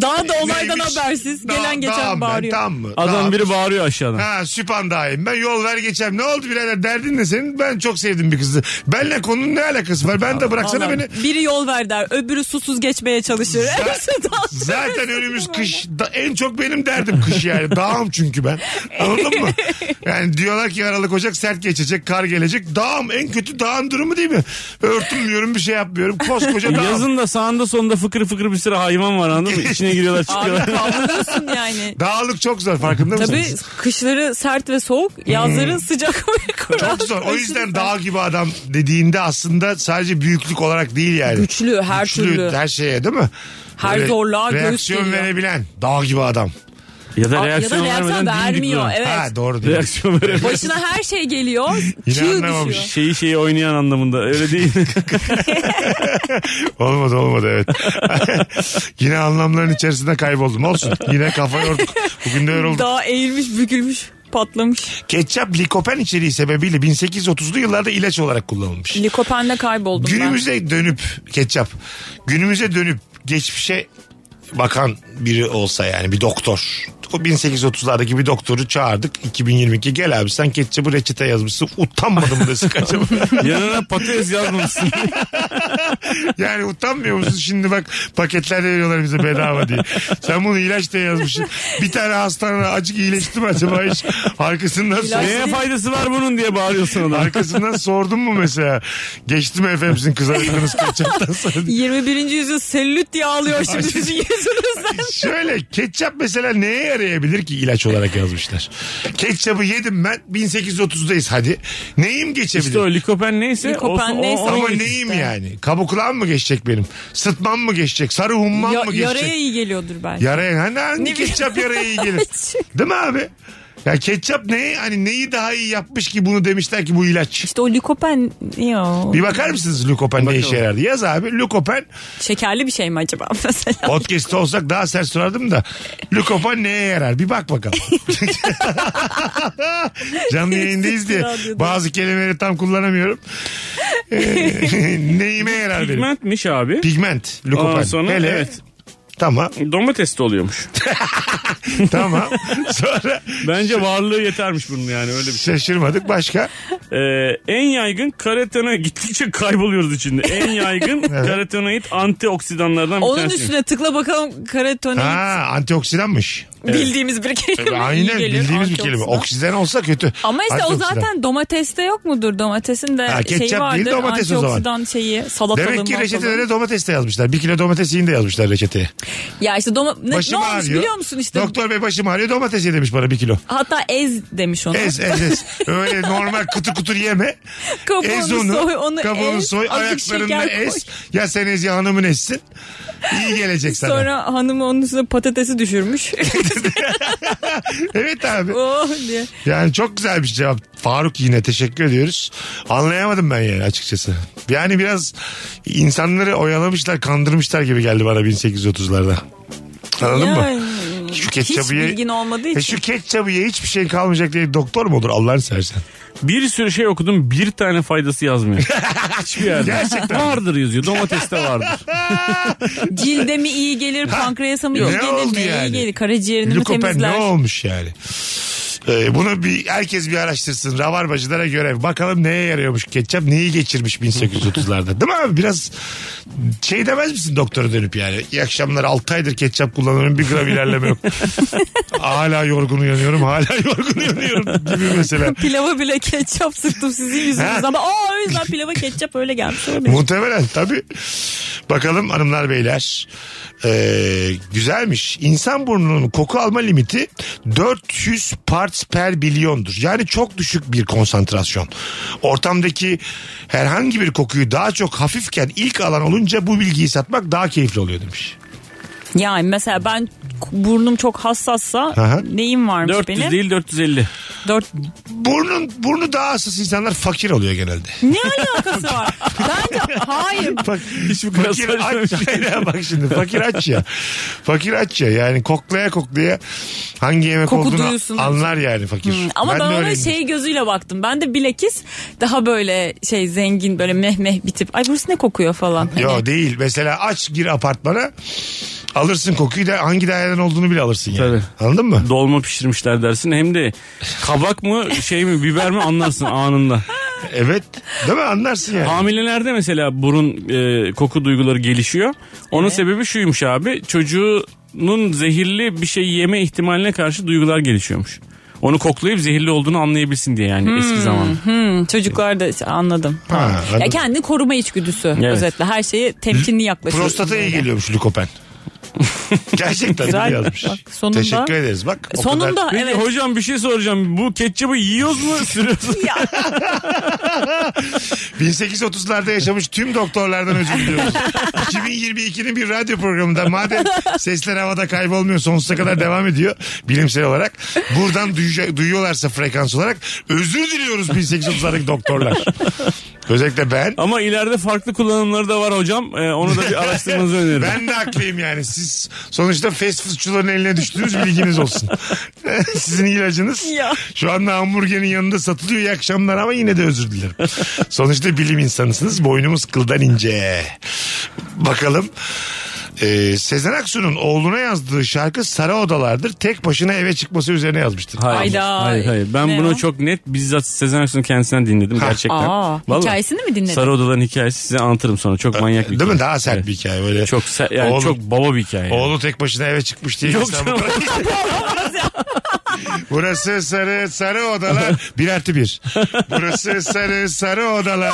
S2: Daha da olaydan
S1: Neymiş?
S2: habersiz.
S1: Dağ-
S2: Gelen
S1: dağım
S2: geçen
S1: Ben,
S2: bağırıyor.
S1: tamam mı?
S3: Adam
S1: Dağım.
S3: biri bağırıyor aşağıdan.
S1: Ha süpan dağıyım ben yol ver geçem. Ne oldu birader derdin ne senin? Ben çok sevdim bir kızı. Benle konunun ne alakası var? Ben de bıraksana
S2: Vallahi
S1: beni.
S2: Biri yol ver der, öbürü susuz geçmeye <laughs> çalışır. Hepsi dans eder.
S1: Zaten önümüz kış. Da- en çok benim derdim kış yani. Dağım çünkü ben. Anladın mı? Yani diyorlar ki Aralık Ocak sert geçecek, kar gelecek. Dağım en kötü dağın durumu değil mi? Örtünmüyorum, bir şey yapmıyorum.
S2: E,
S1: Koskoca dağım.
S3: Yazın da sağında sonunda fıkır fıkır bir sürü hayvan var anladın mı? İçine giriyorlar
S2: Abi
S3: çıkıyorlar.
S2: kavruluyorsun yani.
S1: Dağlık çok zor farkında
S2: Tabii
S1: mısınız?
S2: kışları sert ve soğuk, yazları sıcak <laughs> ve kurak.
S1: Hmm. Çok zor. O yüzden
S2: Aşırı
S1: dağ gibi adam dediğinde aslında sadece büyüklük olarak değil yani.
S2: Güçlü, her türlü.
S1: Her şeye değil mi?
S2: Her zorluğa göğüs
S1: Reaksiyon
S2: geliyor.
S1: verebilen. Dağ gibi adam.
S3: ya da
S2: sert. Ya da
S3: reaksiyon
S2: reaksiyon
S3: vermeden dimdik
S2: vermiyor.
S3: duran.
S2: Evet.
S1: Ha doğru değil.
S3: Reaksiyon veremiyor.
S2: Başına her şey geliyor.
S1: Yine
S2: Çığ
S1: anlamamış.
S2: düşüyor.
S3: Şeyi şeyi oynayan anlamında öyle
S1: <laughs>
S3: değil.
S1: Olmadı olmadı evet. <laughs> Yine anlamların içerisinde kayboldum. Olsun. Yine kafa yorduk. Bugün de yorulduk.
S2: Dağ eğilmiş, bükülmüş, patlamış.
S1: Ketçap likopen içeriği sebebiyle 1830'lu yıllarda ilaç olarak kullanılmış.
S2: Likopenle kayboldum ben.
S1: Günümüze dönüp ketçap. Günümüze dönüp geçmişe bakan biri olsa yani bir doktor. O 1830'lardaki bir doktoru çağırdık. 2022 gel abi sen ketçabı reçete yazmışsın. Utanmadım desin acaba.
S3: Yanına patates yazmamışsın.
S1: Yani utanmıyor musun şimdi bak paketlerde veriyorlar bize bedava diye. Sen bunu ilaç diye yazmışsın. Bir tane hastane acık iyileşti mi acaba hiç? Arkasından sor-
S3: Neye faydası var bunun diye bağırıyorsun ona.
S1: Arkasından sordun mu mesela? Geçti mi efendim sizin kızarıklığınız kaçaktan sonra? diye.
S2: 21. yüzyıl selülit diye ağlıyor şimdi
S1: Ay.
S2: sizin huzurunuzdan.
S1: Şöyle ketçap mesela neye yarayabilir ki ilaç olarak yazmışlar. Ketçapı yedim ben 1830'dayız hadi. Neyim geçebilir?
S3: İşte o likopen neyse.
S2: Likopen
S3: o- o-
S2: neyse.
S3: o-
S1: Ama
S2: Hayır
S1: neyim
S2: işte.
S1: yani? Kabuklağım mı geçecek benim? Sıtmam mı geçecek? Sarı hummam
S2: Ya-
S1: mı geçecek?
S2: yaraya iyi geliyordur belki.
S1: Yaraya hani hangi
S2: Ne bileyim.
S1: ketçap yaraya iyi
S2: <laughs>
S1: gelir? Değil mi abi? Ya ketçap ne? Hani neyi daha iyi yapmış ki bunu demişler ki bu ilaç.
S2: İşte o likopen ya.
S1: Bir bakar mısınız Lukopen ne işe yarardı? Yaz abi
S2: <laughs>
S1: Lukopen
S2: Şekerli bir şey mi acaba <laughs> mesela?
S1: Podcast'te olsak daha sert sorardım da Lukopan neye yarar? Bir bak
S2: <laughs>
S1: bakalım. Canlı yayındayız diye
S2: Radyoda.
S1: bazı kelimeleri tam kullanamıyorum. Ee, <laughs> neyime yarar benim?
S3: Pigmentmiş abi.
S1: Pigment. Lukopen.
S3: Ondan sonra
S1: Hele.
S3: evet.
S1: Tamam.
S3: Domates de oluyormuş.
S1: Tamam. <laughs> Sonra
S3: Bence varlığı yetermiş bunun yani öyle bir şey.
S1: şaşırmadık. Başka?
S3: Ee, en yaygın karotenay gittikçe kayboluyoruz içinde. En <laughs> yaygın karotenoid antioksidanlardan bir
S2: Onun
S3: tanesi.
S2: üstüne tıkla bakalım karotenoid <laughs>
S1: Ha, antioksidanmış.
S2: bildiğimiz bir kelime. iyi
S1: Aynen
S2: geliyor,
S1: bildiğimiz bir kelime.
S2: antioksidan.
S1: Oksijen olsa kötü.
S2: Ama işte o
S1: Antioksidan.
S2: zaten domateste yok mudur? Domatesin de
S1: Ha, ketçap
S2: şeyi
S1: değil,
S2: vardır.
S1: domates o zaman.
S2: Antioksidan şeyi, salatalı
S1: Demek ki
S2: maltalı.
S1: reçetelere domates de yazmışlar. Bir kilo domates yiyin de yazmışlar reçeteye.
S2: Ya işte doma- ne, ne
S1: Başım
S2: olmuş
S1: ağrıyor.
S2: biliyor musun işte?
S1: Doktor bey başım ağrıyor domates ye demiş bana bir kilo.
S2: Hatta ez demiş ona.
S1: Ez ez ez. Öyle normal kutu kutur yeme.
S2: Kabuğunu
S1: ez onu.
S2: soy, onu
S1: kabuğunu
S2: ez,
S1: soy.
S2: azıcık
S1: Ayaklarında
S2: şeker koy.
S1: ez. Ya sen ez ya hanımın ezsin. İyi gelecek sana.
S2: Sonra hanım onun üstüne patatesi düşürmüş. <laughs>
S1: Evet abi.
S2: oh diye.
S1: Yani çok güzel bir cevap. Faruk yine teşekkür ediyoruz. Anlayamadım ben yani açıkçası. Yani biraz insanları oyalamışlar, kandırmışlar gibi geldi bana 1830'larda. Anladın mı?
S2: Yani,
S1: Şu ketçabı ye-
S2: Hiç bilgin olmadığı
S1: E
S2: için.
S1: şu ketçabı ye hiçbir şey kalmayacak diye doktor mu olur Allah'ını seversen?
S3: Bir sürü şey okudum bir tane faydası <laughs> yazmıyor. Hiçbir yerde.
S1: Gerçekten.
S3: Vardır yazıyor. Domateste vardır.
S2: Cilde mi iyi gelir, pankreasa mı iyi
S1: Ne
S2: gelir,
S1: oldu
S2: neye
S1: yani?
S2: iyi gelir, karaciğerini mi
S1: Lükopen ne
S2: temizler? <laughs>
S1: olmuş yani? Ee, bunu bir herkes bir araştırsın. Rabarbacılara göre bakalım neye yarıyormuş ketçap, neyi geçirmiş 1830'larda. Değil mi abi? Biraz şey demez misin doktora dönüp yani? İyi akşamlar 6 aydır ketçap kullanıyorum bir gram
S2: <laughs>
S1: ilerleme yok. hala yorgun uyanıyorum, hala <laughs> yorgun uyanıyorum gibi mesela.
S2: Pilava bile ketçap sıktım sizin yüzünüzden. Ama aa, o
S1: <laughs>
S2: yüzden pilava ketçap öyle gelmiş olabilir.
S1: Muhtemelen tabii. Bakalım hanımlar beyler. Ee, güzelmiş. İnsan burnunun koku alma limiti 400 parts per bilyondur. Yani çok düşük bir konsantrasyon. Ortamdaki herhangi bir kokuyu daha çok hafifken ilk alan olunca bu bilgiyi satmak daha keyifli oluyor demiş.
S2: Yani mesela ben burnum çok hassassa
S1: Aha.
S2: neyim varmış <laughs>
S3: 400
S2: benim?
S3: değil 450.
S2: Dört...
S1: Burnun burnu daha hassas insanlar fakir oluyor genelde.
S2: Ne alakası var? Bence
S1: <laughs>
S2: hayır.
S1: Bak,
S3: Hiç bu kadar
S1: fakir
S3: saçma
S1: aç.
S3: bir şey.
S1: Hayır ya, <laughs> bak şimdi fakir aç ya. Fakir aç ya. Yani koklaya koklaya hangi yemek
S2: Koku
S1: olduğunu
S2: duyuyorsun. Hmm,
S1: anlar yani fakir.
S2: Ama ben,
S1: de
S2: ona
S1: öyleyim.
S2: şey gözüyle baktım. Ben de bilekis daha böyle şey zengin böyle meh meh bir tip. Ay burası ne kokuyor falan. Hani.
S1: Yo değil. Mesela aç gir apartmana alırsın kokuyu da hangi daireden olduğunu bile alırsın yani. Anladın mı?
S3: Dolma pişirmişler dersin. Hem de kabak mı şey mi biber mi anlarsın anında.
S1: Evet. Değil mi? Anlarsın yani.
S3: <laughs> Hamilelerde mesela burun e, koku duyguları gelişiyor. Onun sebebi şuymuş abi. Çocuğunun zehirli bir şey yeme ihtimaline karşı duygular gelişiyormuş. Onu koklayıp zehirli olduğunu anlayabilsin diye yani eski zaman.
S2: Hmm, çocuklar da anladım. Tamam.
S1: anladım.
S2: Ya kendini koruma içgüdüsü
S3: Evet.
S2: özetle. Her şeye temkinli yaklaşıyor.
S1: Prostata iyi geliyormuş lükopen. Gerçekten
S2: Güzel.
S1: bunu yazmış.
S2: Bak, sonunda-
S1: Teşekkür ederiz bak. o
S2: Sonunda
S1: kadar-
S3: Peki
S2: evet.
S3: hocam bir şey soracağım. Bu ketçabı
S2: <laughs>
S3: yiyoruz mu sürüyoruz? mu?
S2: Ya,
S1: 1830'larda yaşamış tüm doktorlardan özür diliyoruz. 2022'nin bir radyo programında madem sesler havada kaybolmuyor sonsuza kadar devam ediyor bilimsel olarak. Buradan duyuca- duyuyorlarsa frekans olarak özür diliyoruz 1830'lardaki doktorlar. Özellikle ben.
S3: Ama ileride farklı kullanımları da var hocam. Ee, onu
S2: <laughs>
S3: da bir araştırmanızı öneririm.
S1: Ben de haklıyım yani. Siz sonuçta fast foodçuların eline düştünüz bilginiz olsun. <laughs> Sizin ilacınız
S2: Ya.
S1: şu anda hamburgerin yanında satılıyor iyi akşamlar ama yine de özür dilerim. sonuçta bilim insanısınız. Boynumuz kıldan ince. Bakalım. Ee, Sezen Aksu'nun oğluna yazdığı şarkı Sarı Odalardır. Tek başına eve çıkması üzerine yazmıştır.
S2: Hayda.
S3: Hayır hayır. Ben
S2: Ne
S3: bunu
S2: o?
S3: çok net bizzat Sezen Aksu'nun kendisinden dinledim gerçekten.
S2: Aa,
S3: Vallahi.
S2: hikayesini mi dinledin?
S3: Sarı Odaların hikayesi size anlatırım sonra. Çok manyak bir
S1: Değil
S3: hikaye.
S1: mi? Daha sert bir hikaye böyle.
S3: <laughs> Çok ser- yani
S1: Oğlum-
S3: çok baba bir hikaye. yani.
S1: Oğlu tek başına eve çıkmış diye.
S3: Yok
S1: İstanbul'a-
S2: <laughs>
S3: canım.
S1: Burası sarı sarı odalar. Bir artı bir. Burası sarı sarı odalar.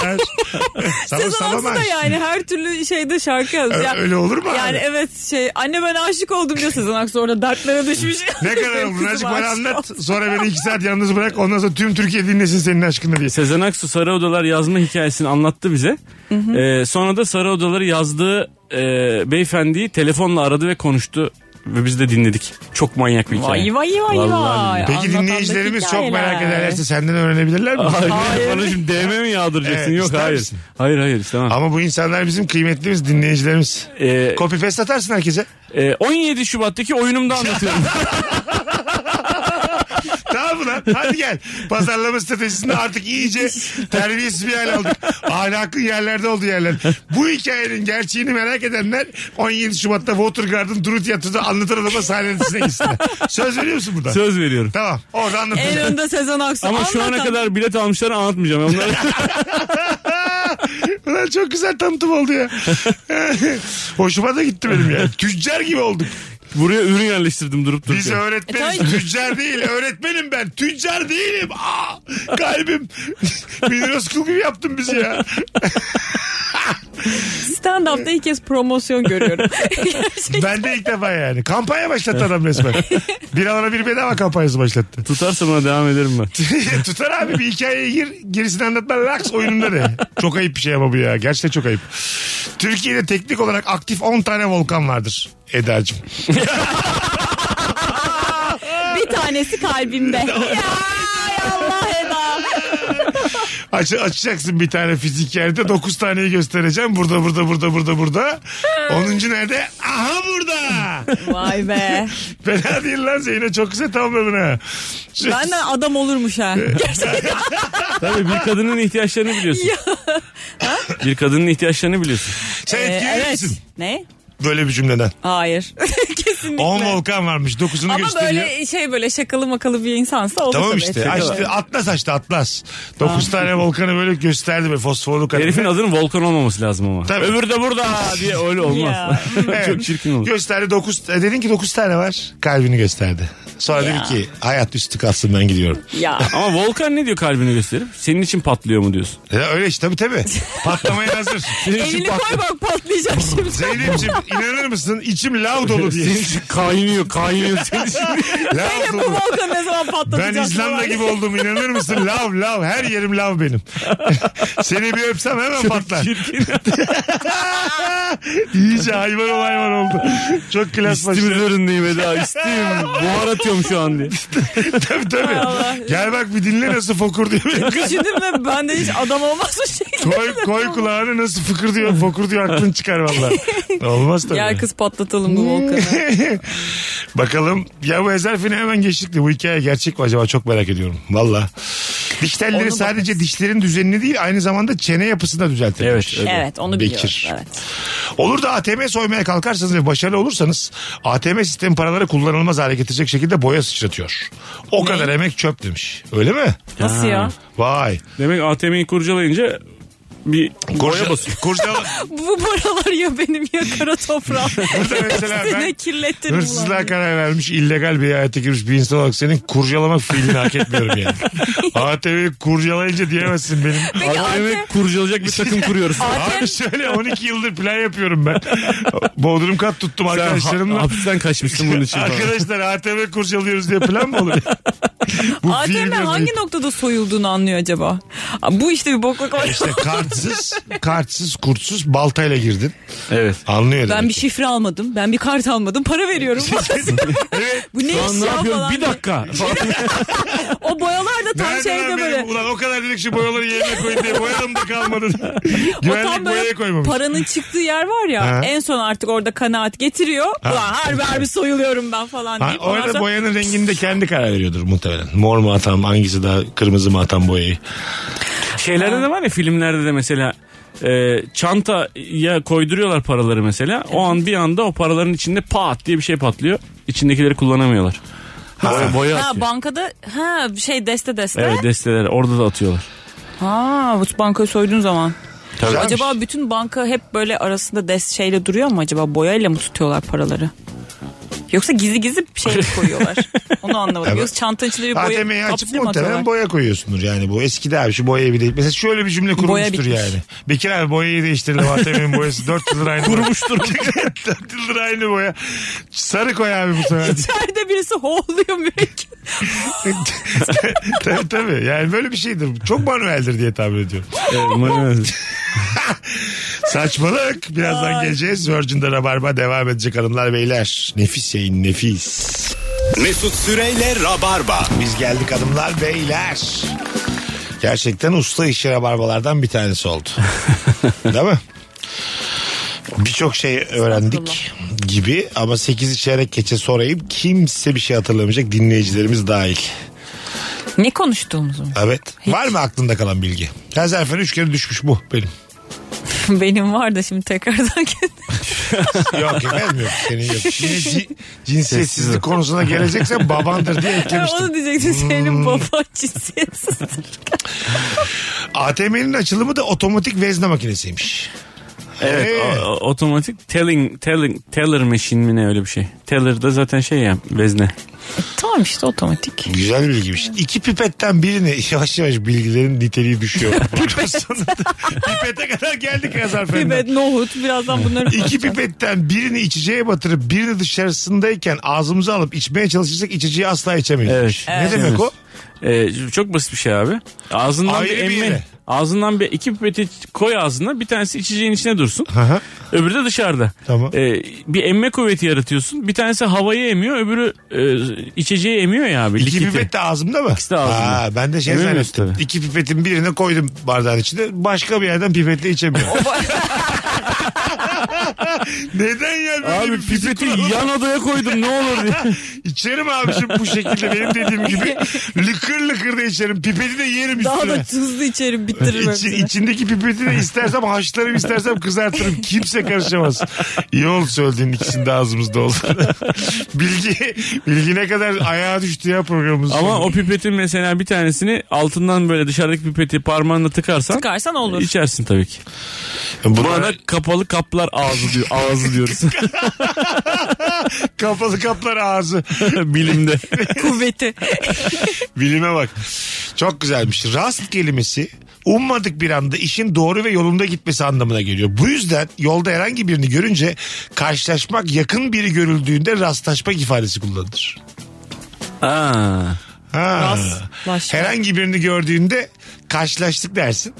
S1: Sabah
S2: Sezen
S1: sabah
S2: Aksu da
S1: marş.
S2: yani her türlü şeyde şarkı yaz.
S1: Ö-
S2: Ya-
S1: öyle olur mu abi?
S2: Yani evet şey anne ben aşık oldum diyor Sezen Aksu orada dertlere düşmüş.
S1: Ne kadar
S2: <laughs> Benim
S1: olur?
S2: kızım
S1: Azıcık bana
S2: aşık
S1: anlat.
S2: oldu.
S1: Sonra beni iki saat yalnız bırak. Ondan sonra tüm Türkiye dinlesin senin aşkını diye.
S3: Sezen Aksu Sarı Odalar yazma hikayesini anlattı bize. Ee, sonra da Sarı Odaları yazdığı e, beyefendiyi telefonla aradı ve konuştu. Ve biz de dinledik. Çok manyak bir hikaye.
S2: Vay vay vay vay.
S1: Peki
S2: Anlatan da
S1: dinleyicilerimiz çok merak
S2: hikayeler.
S1: ederlerse senden öğrenebilirler mi?
S3: <laughs> Hayır. Bana şimdi DM mi yağdıracaksın?
S1: Evet,
S3: Yok
S1: ister
S3: hayır.
S1: misin?
S3: Hayır hayır istemem.
S1: Ama bu insanlar bizim kıymetlimiz dinleyicilerimiz.
S3: Ee,
S1: Copy paste atarsın herkese.
S3: e, 17 Şubat'taki
S1: <laughs>
S3: oyunumda anlatıyorum.
S1: Tamam mı lan? Hadi gel. Pazarlama stratejisinde artık iyice terbiyesiz bir hal aldık. Ahlakın yerlerde olduğu yerler. Bu hikayenin gerçeğini merak edenler 17 Şubat'ta Watergarden Duru Tiyatro'da anlatır adama sahnesine gitsinler. Söz veriyor musun burada?
S3: Söz veriyorum.
S1: Tamam. Orada
S2: En
S1: anlatacağım.
S2: önde Sezen Aksu.
S3: Ama şu ana
S2: Anlatan.
S3: kadar bilet almışlar anlatmayacağım. Onları
S1: <laughs> Ulan çok güzel tanıtım oldu ya. Hoşuma da gitti benim ya. Tüccar gibi olduk.
S3: buraya ürün yerleştirdim durup
S1: Biz
S3: dururken.
S1: öğretmeniz.
S2: E, tabii.
S1: tüccar değil. Öğretmenim ben. Tüccar değilim. Aa, kalbim. Minos kul gibi yaptın bizi ya.
S2: Stand-up'ta ilk kez promosyon görüyorum. <laughs>
S1: Ben de ilk defa yani. Kampanya başlattı adam resmen. Bir alana bir bedava kampanyası başlattı. <laughs>
S3: Tutarsa buna devam ederim ben.
S1: Tutar abi bir hikayeye gir. Gerisini anlatma. Relax oyununda de. Çok ayıp bir şey ama bu ya. Gerçekten çok ayıp. Türkiye'de teknik olarak aktif 10 tane volkan vardır. Eda'cığım.
S2: bir
S1: <laughs>
S2: tanesi kalbimde. ya, ya Allah Eda.
S1: Aç, açacaksın bir tane fizik yerde. 9 taneyi göstereceğim. Burada burada burada burada burada. 10. nerede? Aha burada.
S2: Vay be.
S1: Fena değil lan Zeyno. Çok güzel tamamladın ha. Şu-
S2: Benden adam
S1: <laughs>
S2: olurmuş ha. Gerçekten.
S3: Tabii bir kadının ihtiyaçlarını biliyorsun. bir kadının ihtiyaçlarını biliyorsun.
S1: Sen
S2: Ee,
S1: etkilenir
S2: evet.
S1: misin?
S2: Ne?
S1: Böyle bir cümleden.
S2: Hayır. <laughs> Kesinlikle.
S1: 10 volkan varmış. 9'unu
S2: Ama
S1: gösteriyor.
S2: böyle şey böyle şakalı makalı bir insansa olur
S1: Tamam
S2: tabii.
S1: işte. Açtı, atlas açtı atlas. 9 tane volkanı böyle gösterdi böyle fosforlu kadın.
S3: Herifin adının Volkan olmaması lazım ama.
S1: Tabii.
S3: Öbür de burada diye
S1: <laughs>
S3: öyle olmaz.
S1: Evet.
S3: Çok çirkin olur.
S1: Gösterdi 9. Dedin ki 9 tane var. Kalbini gösterdi. Sonra
S2: Ya.
S1: dedi ki hayat üstü kalsın ben gidiyorum.
S2: Ya.
S3: Ama Volkan ne diyor kalbini gösterip? Senin için patlıyor mu diyorsun?
S1: E, öyle işte tabii tabii. Patlamaya hazır.
S2: Elini koy bak patlayacak şimdi. <laughs>
S1: Zeynep'ciğim inanır mısın? İçim lav
S3: <laughs>
S1: dolu diye.
S3: kaynıyor kaynıyor.
S1: lav
S2: Bu
S1: dolu.
S2: volkan ne zaman
S1: Ben
S2: patlatacak?
S1: İzlanda gibi oldum inanır mısın? Lav lav her yerim lav benim. <laughs> Seni bir öpsem hemen patlar. <laughs> İyice hayvan ol hayvan oldu. Çok klas
S3: İstim
S1: başladı.
S3: üzerindeyim Eda istim. Buhar atıyorum şu an diye.
S1: tabii tabii.
S2: Allah.
S1: Gel bak bir dinle nasıl fokur <laughs> diyor.
S2: Düşündün mü? Ben de hiç adam olmaz şey. bu <laughs> şekilde.
S1: koy, koy kulağını nasıl fıkır diyor. Fokur diyor aklın çıkar valla. Olmaz tabii.
S2: Gel kız patlatalım bu
S1: <laughs>
S2: volkanı.
S1: Bakalım ya bu ezerfini hemen geçtik de bu hikaye gerçek mi acaba çok merak ediyorum. Valla. Diş telleri
S2: Onu
S1: sadece dişlerin düzenini değil aynı zamanda çene yapısını da düzeltir.
S3: <laughs> Evet, öyle.
S2: Evet onu
S1: Bekir.
S2: biliyoruz. Evet.
S1: Olur da ATM soymaya kalkarsanız ve başarılı olursanız ATM sistemi paraları kullanılmaz hale getirecek şekilde boya sıçratıyor. O kadar emek çöp demiş. Öyle mi?
S2: Nasıl ya?
S1: Vay.
S3: Demek ATM'yi kurcalayınca bir boya basıyor.
S1: <laughs> kurcala-
S2: Bu paralar ya benim ya kara toprağım.
S1: Burada <laughs> mesela ben-
S2: Hepsini kirlettin
S1: Hırsızlığa
S2: ulan.
S1: karar vermiş, illegal bir hayata girmiş bir insan olarak senin kurcalamak fiilini hak etmiyorum
S3: <laughs>
S1: yani. ATV'yi kurcalayınca diyemezsin benim.
S2: Peki
S3: ATM
S2: ATM,
S3: kurcalayacak bir takım <laughs> kuruyoruz.
S1: Abi şöyle 12 yıldır plan yapıyorum ben. Bodrum kat tuttum
S3: Sen ha-
S1: arkadaşlarımla.
S3: hapisten kaçmışsın bunun için. falan.
S1: Arkadaşlar ATV kurcalıyoruz diye plan mı olur?
S3: <laughs>
S1: Bu
S2: ATM
S1: film
S2: hangi noktada soyulduğunu anlıyor acaba? Aa, Bu işte bir bokluk var.
S1: İşte kartsız, <laughs> kartsız, kurtsuz baltayla girdin.
S3: Evet.
S1: Anlıyor
S2: Ben
S1: demek.
S2: bir şey- şifre almadım. Ben bir kart almadım. Para veriyorum.
S1: <laughs> Evet.
S2: Bu ne
S3: Şu an
S2: iş
S3: ne
S2: ya
S3: yapıyorsun?
S2: falan.
S3: Bir dakika.
S2: O boyalar da tam
S1: Nerede
S2: şeyde
S1: lan benim?
S2: böyle.
S1: Ulan o kadar dedik şu boyaları yerine koyun diye boyalım da kalmadı.
S2: <laughs> O
S1: Güvenlik
S2: tam böyle
S1: boyaya koymamış.
S2: paranın çıktığı yer var ya.
S1: Ha.
S2: En son artık orada kanaat getiriyor. Ulan harbi harbi soyuluyorum ben falan
S1: Ha,
S2: deyip. ondan
S1: orada
S2: sonra-
S1: boyanın rengini de kendi karar veriyordur muhtemelen. Mor mu atam hangisi daha kırmızı mı atam boyayı.
S3: Şeylerde de var ya filmlerde de mesela e, çantaya koyduruyorlar paraları mesela. O an bir anda o paraların içinde pat diye bir şey patlıyor. İçindekileri kullanamıyorlar. Boya, boya
S2: Ha
S3: atıyor.
S2: bankada ha şey deste deste.
S3: Evet desteler orada da atıyorlar.
S2: Ha bu bankayı soyduğun zaman.
S1: Tabii.
S2: Acaba bütün banka hep böyle arasında des şeyle duruyor mu acaba? Boyayla mı tutuyorlar paraları? Yoksa gizli gizli bir şey mi koyuyorlar.
S1: <laughs>
S2: Onu anlamadım.
S1: Evet.
S2: Yoksa çantanın içine bir boya
S1: ATM'yi açıp
S2: kapsül mü
S1: muhtemelen
S2: atıyorlar?
S1: boya koyuyorsundur yani bu eskide abi şu boyayı bir de mesela şöyle bir cümle kurmuştur
S2: bitmiş.
S1: yani. Bekir abi boyayı değiştirdim ATM'nin boyası 4 yıldır aynı <laughs> Kurmuştur. 4 yıldır aynı boya. Sarı koy abi bu sefer.
S2: <laughs> İçeride birisi hoğluyor
S1: <laughs>
S2: mürekkep.
S1: tabii tabii yani böyle bir şeydir. Çok manueldir diye tahmin ediyorum. <laughs> Saçmalık. Birazdan geleceğiz. Virgin'de Rabarba devam edecek hanımlar beyler. Nefis yayın nefis.
S5: Mesut Süreyle Rabarba.
S1: Biz geldik hanımlar beyler. Gerçekten usta işi rabarbalardan bir tanesi oldu. Değil mi? Birçok şey öğrendik gibi ama 8 çeyrek keçe sorayım kimse bir şey hatırlamayacak dinleyicilerimiz dahil.
S2: Ne konuştuğumuzu? <laughs>
S1: Evet. Var mı aklında kalan bilgi? Her zaten 3 kere düşmüş bu
S3: <laughs>
S1: benim.
S2: Benim var da şimdi
S1: <laughs>
S2: tekrardan
S1: yok efendim yok. Senin yok. Yine ci- cinsiyetsizlik konusuna
S3: <laughs>
S1: gelecekse babandır diye eklemiştim.
S2: Onu diyecektim
S1: Hmm.
S2: senin <laughs> baban
S1: <laughs>
S2: cinsiyetsiz.
S1: ATM'nin açılımı da otomatik vezne makinesiymiş.
S3: Evet
S1: Ee?
S3: o- o- otomatik telling, telling, teller machine mi ne öyle bir şey. Teller da zaten şey ya vezne.
S2: tamam işte otomatik.
S1: Güzel bilgiymiş. İki pipetten birini <laughs> yavaş yavaş bilgilerin niteliği
S3: <laughs>
S1: düşüyor. Program sonunda Pipete kadar geldik yazar
S2: Evet nohut
S1: <laughs>
S2: birazdan bunları
S1: İki pipetten birini içeceğe batırıp birini dışarısındayken ağzımıza alıp içmeye çalışırsak içeceği asla içemeyiz.
S3: Evet.
S1: Ne demek o?
S3: Ee, çok basit bir şey abi. Ağzından
S1: Ayrı bir
S3: bir emme.
S1: yere.
S3: Ağzından bir iki pipeti koy ağzına bir tanesi içeceğin içine dursun.
S1: Aha.
S3: Öbürü de dışarıda.
S1: Tamam.
S3: Ee, bir emme kuvveti yaratıyorsun. Bir tanesi havayı emiyor öbürü e, içeceği emiyor ya abi.
S1: İki
S3: likiti.
S1: pipet de ağzımda mı?
S3: İkisi de ağzımda.
S1: Aa, ben de şey
S3: Emin miyiz
S1: zannettim.
S3: tabii?
S1: İki pipetin birini koydum bardağın içine. Başka bir yerden pipetle içemiyorum. <laughs> Neden ya? böyle
S3: Abi
S1: bir fizik
S3: pipeti
S1: kuralı? <laughs>
S3: yan odaya koydum ne olur diye.
S1: İçerim abi şimdi bu şekilde benim dediğim
S2: <laughs>
S1: gibi. Lıkır lıkır da içerim. Pipeti de yerim
S2: daha da
S1: üstüne.
S2: hızlı içerim bitiririm hepsini.
S1: içindeki pipeti de istersem haşlarım istersem kızartırım. Kimse karışamaz. İyi oldu söylediğin ikisinin de ağzımızda oldu. <laughs> bilgi, bilgi ne kadar ayağa düştü ya programımız.
S3: <laughs> Ama o pipetin mesela bir tanesini altından böyle dışarıdaki pipeti parmağınla tıkarsan
S2: Tıkarsan olur.
S3: içersin tabii ki. Buna da kapalı kaplar ağzı diyor. Ağzı <laughs> diyoruz
S1: kapalı kaplar ağzı.
S3: bilimde.
S1: <laughs>
S2: Kuvveti.
S1: Bilime bak. Çok güzelmiş. Rast kelimesi ummadık bir anda işin doğru ve yolunda gitmesi anlamına geliyor. Bu yüzden yolda herhangi birini görünce karşılaşmak yakın biri görüldüğünde rastlaşmak ifadesi kullanılır.
S3: Aa,
S1: Ha.
S2: Rastlaşmak.
S1: Herhangi birini gördüğünde karşılaştık dersin.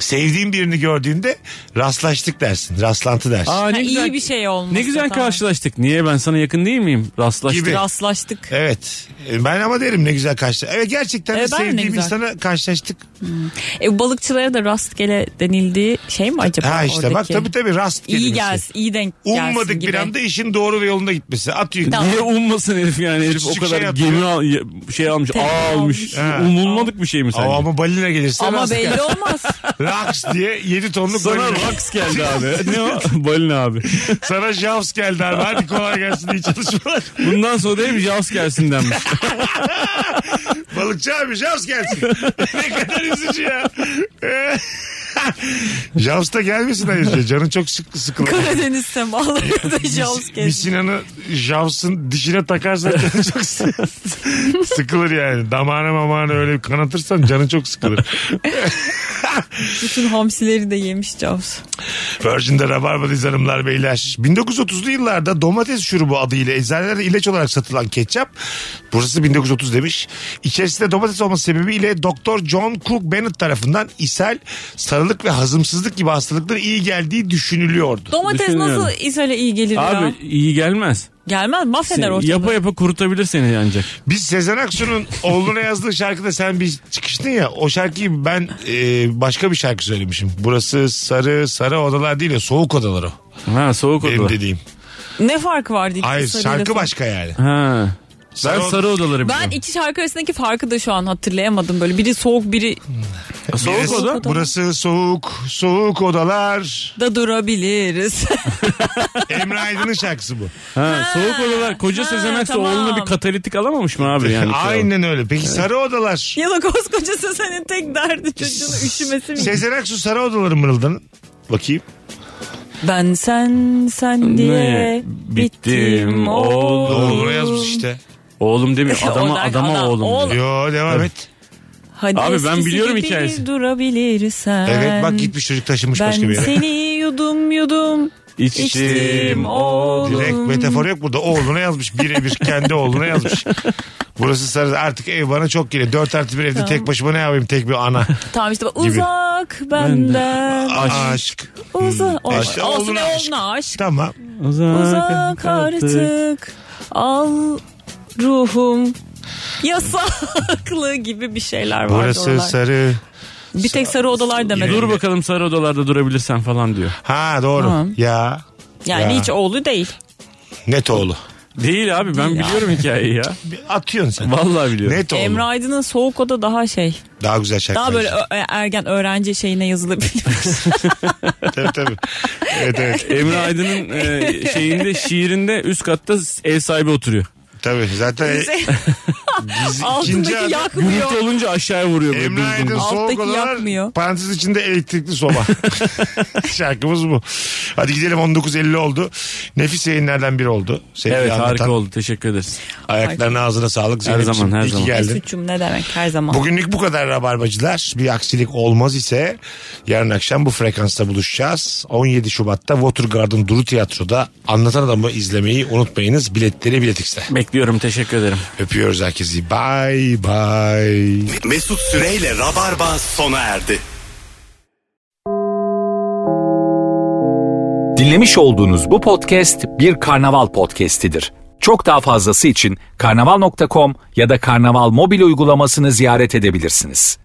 S1: Sevdiğin birini gördüğünde rastlaştık dersin. Rastlantı dersin.
S3: Aa,
S2: Ha,
S3: ne
S2: iyi
S3: güzel,
S2: bir şey olmuş.
S3: ne güzel
S2: Tamam.
S3: karşılaştık. Niye ben sana yakın değil miyim? Rastlaştık.
S1: Gibi.
S2: Rastlaştık.
S1: Evet. E, Ben ama derim ne güzel karşılaştık. Evet gerçekten de
S2: Evet, E, ben de ne
S1: sevdiğim
S2: güzel.
S1: insana karşılaştık.
S2: E, balıkçılara da rastgele denildiği şey mi acaba?
S1: ha işte bak
S2: oradaki?
S1: tabii tabii rast kelimesi.
S2: İyi gelsin, iyi denk gelsin
S1: Ummadık
S2: gibi.
S1: bir anda işin doğru ve yolunda gitmesi. Atıyor.
S2: Tamam.
S3: Niye ummasın herif yani herif o
S1: Küçücük
S3: kadar
S1: şey atıyor.
S3: gemi al, ya- şey almış
S2: Tekne
S3: ağ almış.
S2: almış.
S3: Ha. Umulmadık bir şey mi sence?
S1: Ama, ama balina gelirse
S2: Ama
S1: rast
S2: belli
S1: gel.
S2: olmaz.
S1: <laughs> Raks diye 7 tonluk
S3: sana
S1: balina.
S3: Vax geldi abi. ne o? Balin abi.
S1: <laughs> Sana javs geldi abi. Hadi kolay gelsin iyi çalışmalar. <laughs>
S3: Bundan sonra da hep Jaws gelsin denmiş.
S1: Balıkçı abi Jaws gelsin. <laughs> ne kadar üzücü ya. <laughs> Jaws da gelmesin ayrıca. Canı çok sık sıkılır.
S2: Karadeniz semalarında da Jaws
S1: Bir- şey. Bir
S2: gezdi.
S1: Sinan'ı Jaws'ın dişine takarsan canı çok sı- <laughs> sıkılır yani. Damağına mamağına öyle bir kanatırsan canı çok sıkılır.
S2: Bütün hamsileri de yemiş Jaws.
S1: Virgin'de Rabarba'dayız hanımlar beyler. 1930'lu yıllarda domates şurubu adıyla eczanelerde ilaç olarak satılan ketçap. Burası 1930 demiş. İçerisinde domates olması sebebiyle Doktor John Cook Bennett tarafından ishal, sarılık ve hazımsızlık gibi hastalıklara iyi geldiği düşünülüyordu.
S2: Domates
S3: Düşünüyorum.
S2: nasıl İsrail'e iyi gelir ya?
S3: abi şey, iyi gelmez.
S2: Gelmez mahveder
S3: Sen-
S2: ortalığı.
S3: Yapa yapa kurutabilir seni ancak.
S1: Biz Sezen Aksu'nun oğluna yazdığı şarkıda sen bir çıkıştın ya o şarkıyı ben e, başka bir şarkı söylemişim. Burası sarı sarı odalar değil ya soğuk odalar o.
S3: Ha soğuk
S1: Benim
S3: odalar.
S1: dediğim.
S2: Ne farkı vardı iki
S1: Hayır
S2: İsrail'le
S1: şarkı
S2: falan?
S1: başka yani.
S3: Ha. Ben
S1: Sarı od-
S3: sarı odaları
S2: Ben
S3: biliyorum.
S2: iki şarkı arasındaki farkı da şu an hatırlayamadım böyle. Biri soğuk biri
S3: soğuk
S1: Birisi-
S3: oda.
S2: oda.
S1: Burası soğuk, soğuk
S2: <laughs>
S1: odalar.
S2: da durabiliriz. <laughs>
S1: Emre Aydın'ın şarkısı bu.
S3: Ha, soğuk odalar. Koca
S2: ha,
S3: Sezen Aksu
S2: tamam.
S3: oğluna bir katalitik alamamış mı
S1: <laughs>
S3: abi yani?
S1: Aynen öyle. Peki sarı odalar.
S2: ya da koskoca
S1: Şey
S2: Sezen'in tek derdi çocuğun üşümesi mi?
S1: Sezen Aksu sarı odaları mırıldanın. Bakayım.
S2: Ben sen sen diye
S3: Ne?
S2: bittim,
S3: Bittim,
S2: oldum.
S3: oldum.
S1: Doğru yazmış işte.
S2: <laughs>
S3: Oğlum demiyor. Adama
S2: Onlar-
S3: adama
S2: ana-
S3: oğlum.
S2: oğlum.
S3: diyor.
S1: Yo devam et.
S2: Hadi
S3: Abi ben
S2: eskisi
S3: biliyorum
S2: gibi
S3: hikayesini.
S2: Durabilirsen.
S1: Evet bak gitmiş çocuk taşınmış
S2: Ben
S1: başka bir yere.
S2: seni yudum yudum içtim
S3: İçtim.
S2: oğlum.
S1: Direkt metafor yok burada. Oğluna yazmış. Birebir kendi oğluna yazmış. Burası sarı. Artık ev bana çok geliyor. Dört artı bir evde tek başıma ne yapayım? Tek bir ana.
S2: Tamam işte bak,
S1: Gibi.
S2: uzak benden.
S1: Aşk.
S2: Uzak.
S1: E
S2: Olsun
S1: işte
S2: olsun
S1: oğluna
S2: ne
S1: aşk.
S2: oğluna aşk.
S1: Tamam.
S2: Uzak artık al ruhum yasaklı gibi bir şeyler var.
S1: Burası sarı.
S2: Bir tek sarı odalar demedi.
S3: Dur bakalım sarı odalarda durabilirsen falan diyor.
S1: Ha doğru.
S2: Tamam.
S1: Ya.
S2: Yani
S1: Ya.
S2: hiç oğlu değil.
S1: Net oğlu.
S3: Değil abi ben biliyorum hikayeyi ya.
S1: Bir Atıyorsun sen.
S3: Vallahi biliyorum.
S1: Net oğlu.
S2: Emre Aydın'ın soğuk oda daha şey.
S1: Daha güzel şarkı.
S2: Daha böyle ö- ergen öğrenci şeyine yazılabilir.
S1: tabii tabii. Evet evet.
S2: <laughs>
S3: Emre Aydın'ın e, şeyinde şiirinde üst katta ev sahibi oturuyor.
S1: Tabii zaten <laughs> e,
S2: Altındaki
S1: ikinci adam-
S2: yakmıyor.
S3: Gürültü olunca aşağıya vuruyor böyle
S1: Emre
S3: dümdüz.
S1: Aydın e, soğuk
S2: Alttaki
S1: odalar
S2: yakmıyor.
S1: parantez içinde elektrikli
S2: <laughs>
S1: soba. Şarkımız bu. Hadi gidelim 19.50 oldu. Nefis yayınlardan biri oldu. Sevgili
S3: Evet
S1: anlatan.
S3: harika oldu teşekkür ederiz.
S1: Ayaklarına ağzına sağlık.
S3: Her zaman, her
S1: iyi ki
S3: zaman.
S1: geldin.
S2: Suçum ne demek her zaman.
S1: Bugünlük bu kadar Rabarbacılar. Bir aksilik olmaz ise yarın akşam bu frekansta buluşacağız. 17 Şubat'ta Watergarden Duru Tiyatro'da Anlatan Adamı izlemeyi unutmayınız. Biletleri biletikse.
S3: Bekliyorum teşekkür ederim.
S1: Öpüyoruz herkesi. Bye bye.
S5: Mesut Süreyle Rabarba sona erdi.
S6: Dinlemiş olduğunuz bu podcast bir karnaval podcastidir. Çok daha fazlası için karnaval.com ya da karnaval mobil uygulamasını ziyaret edebilirsiniz.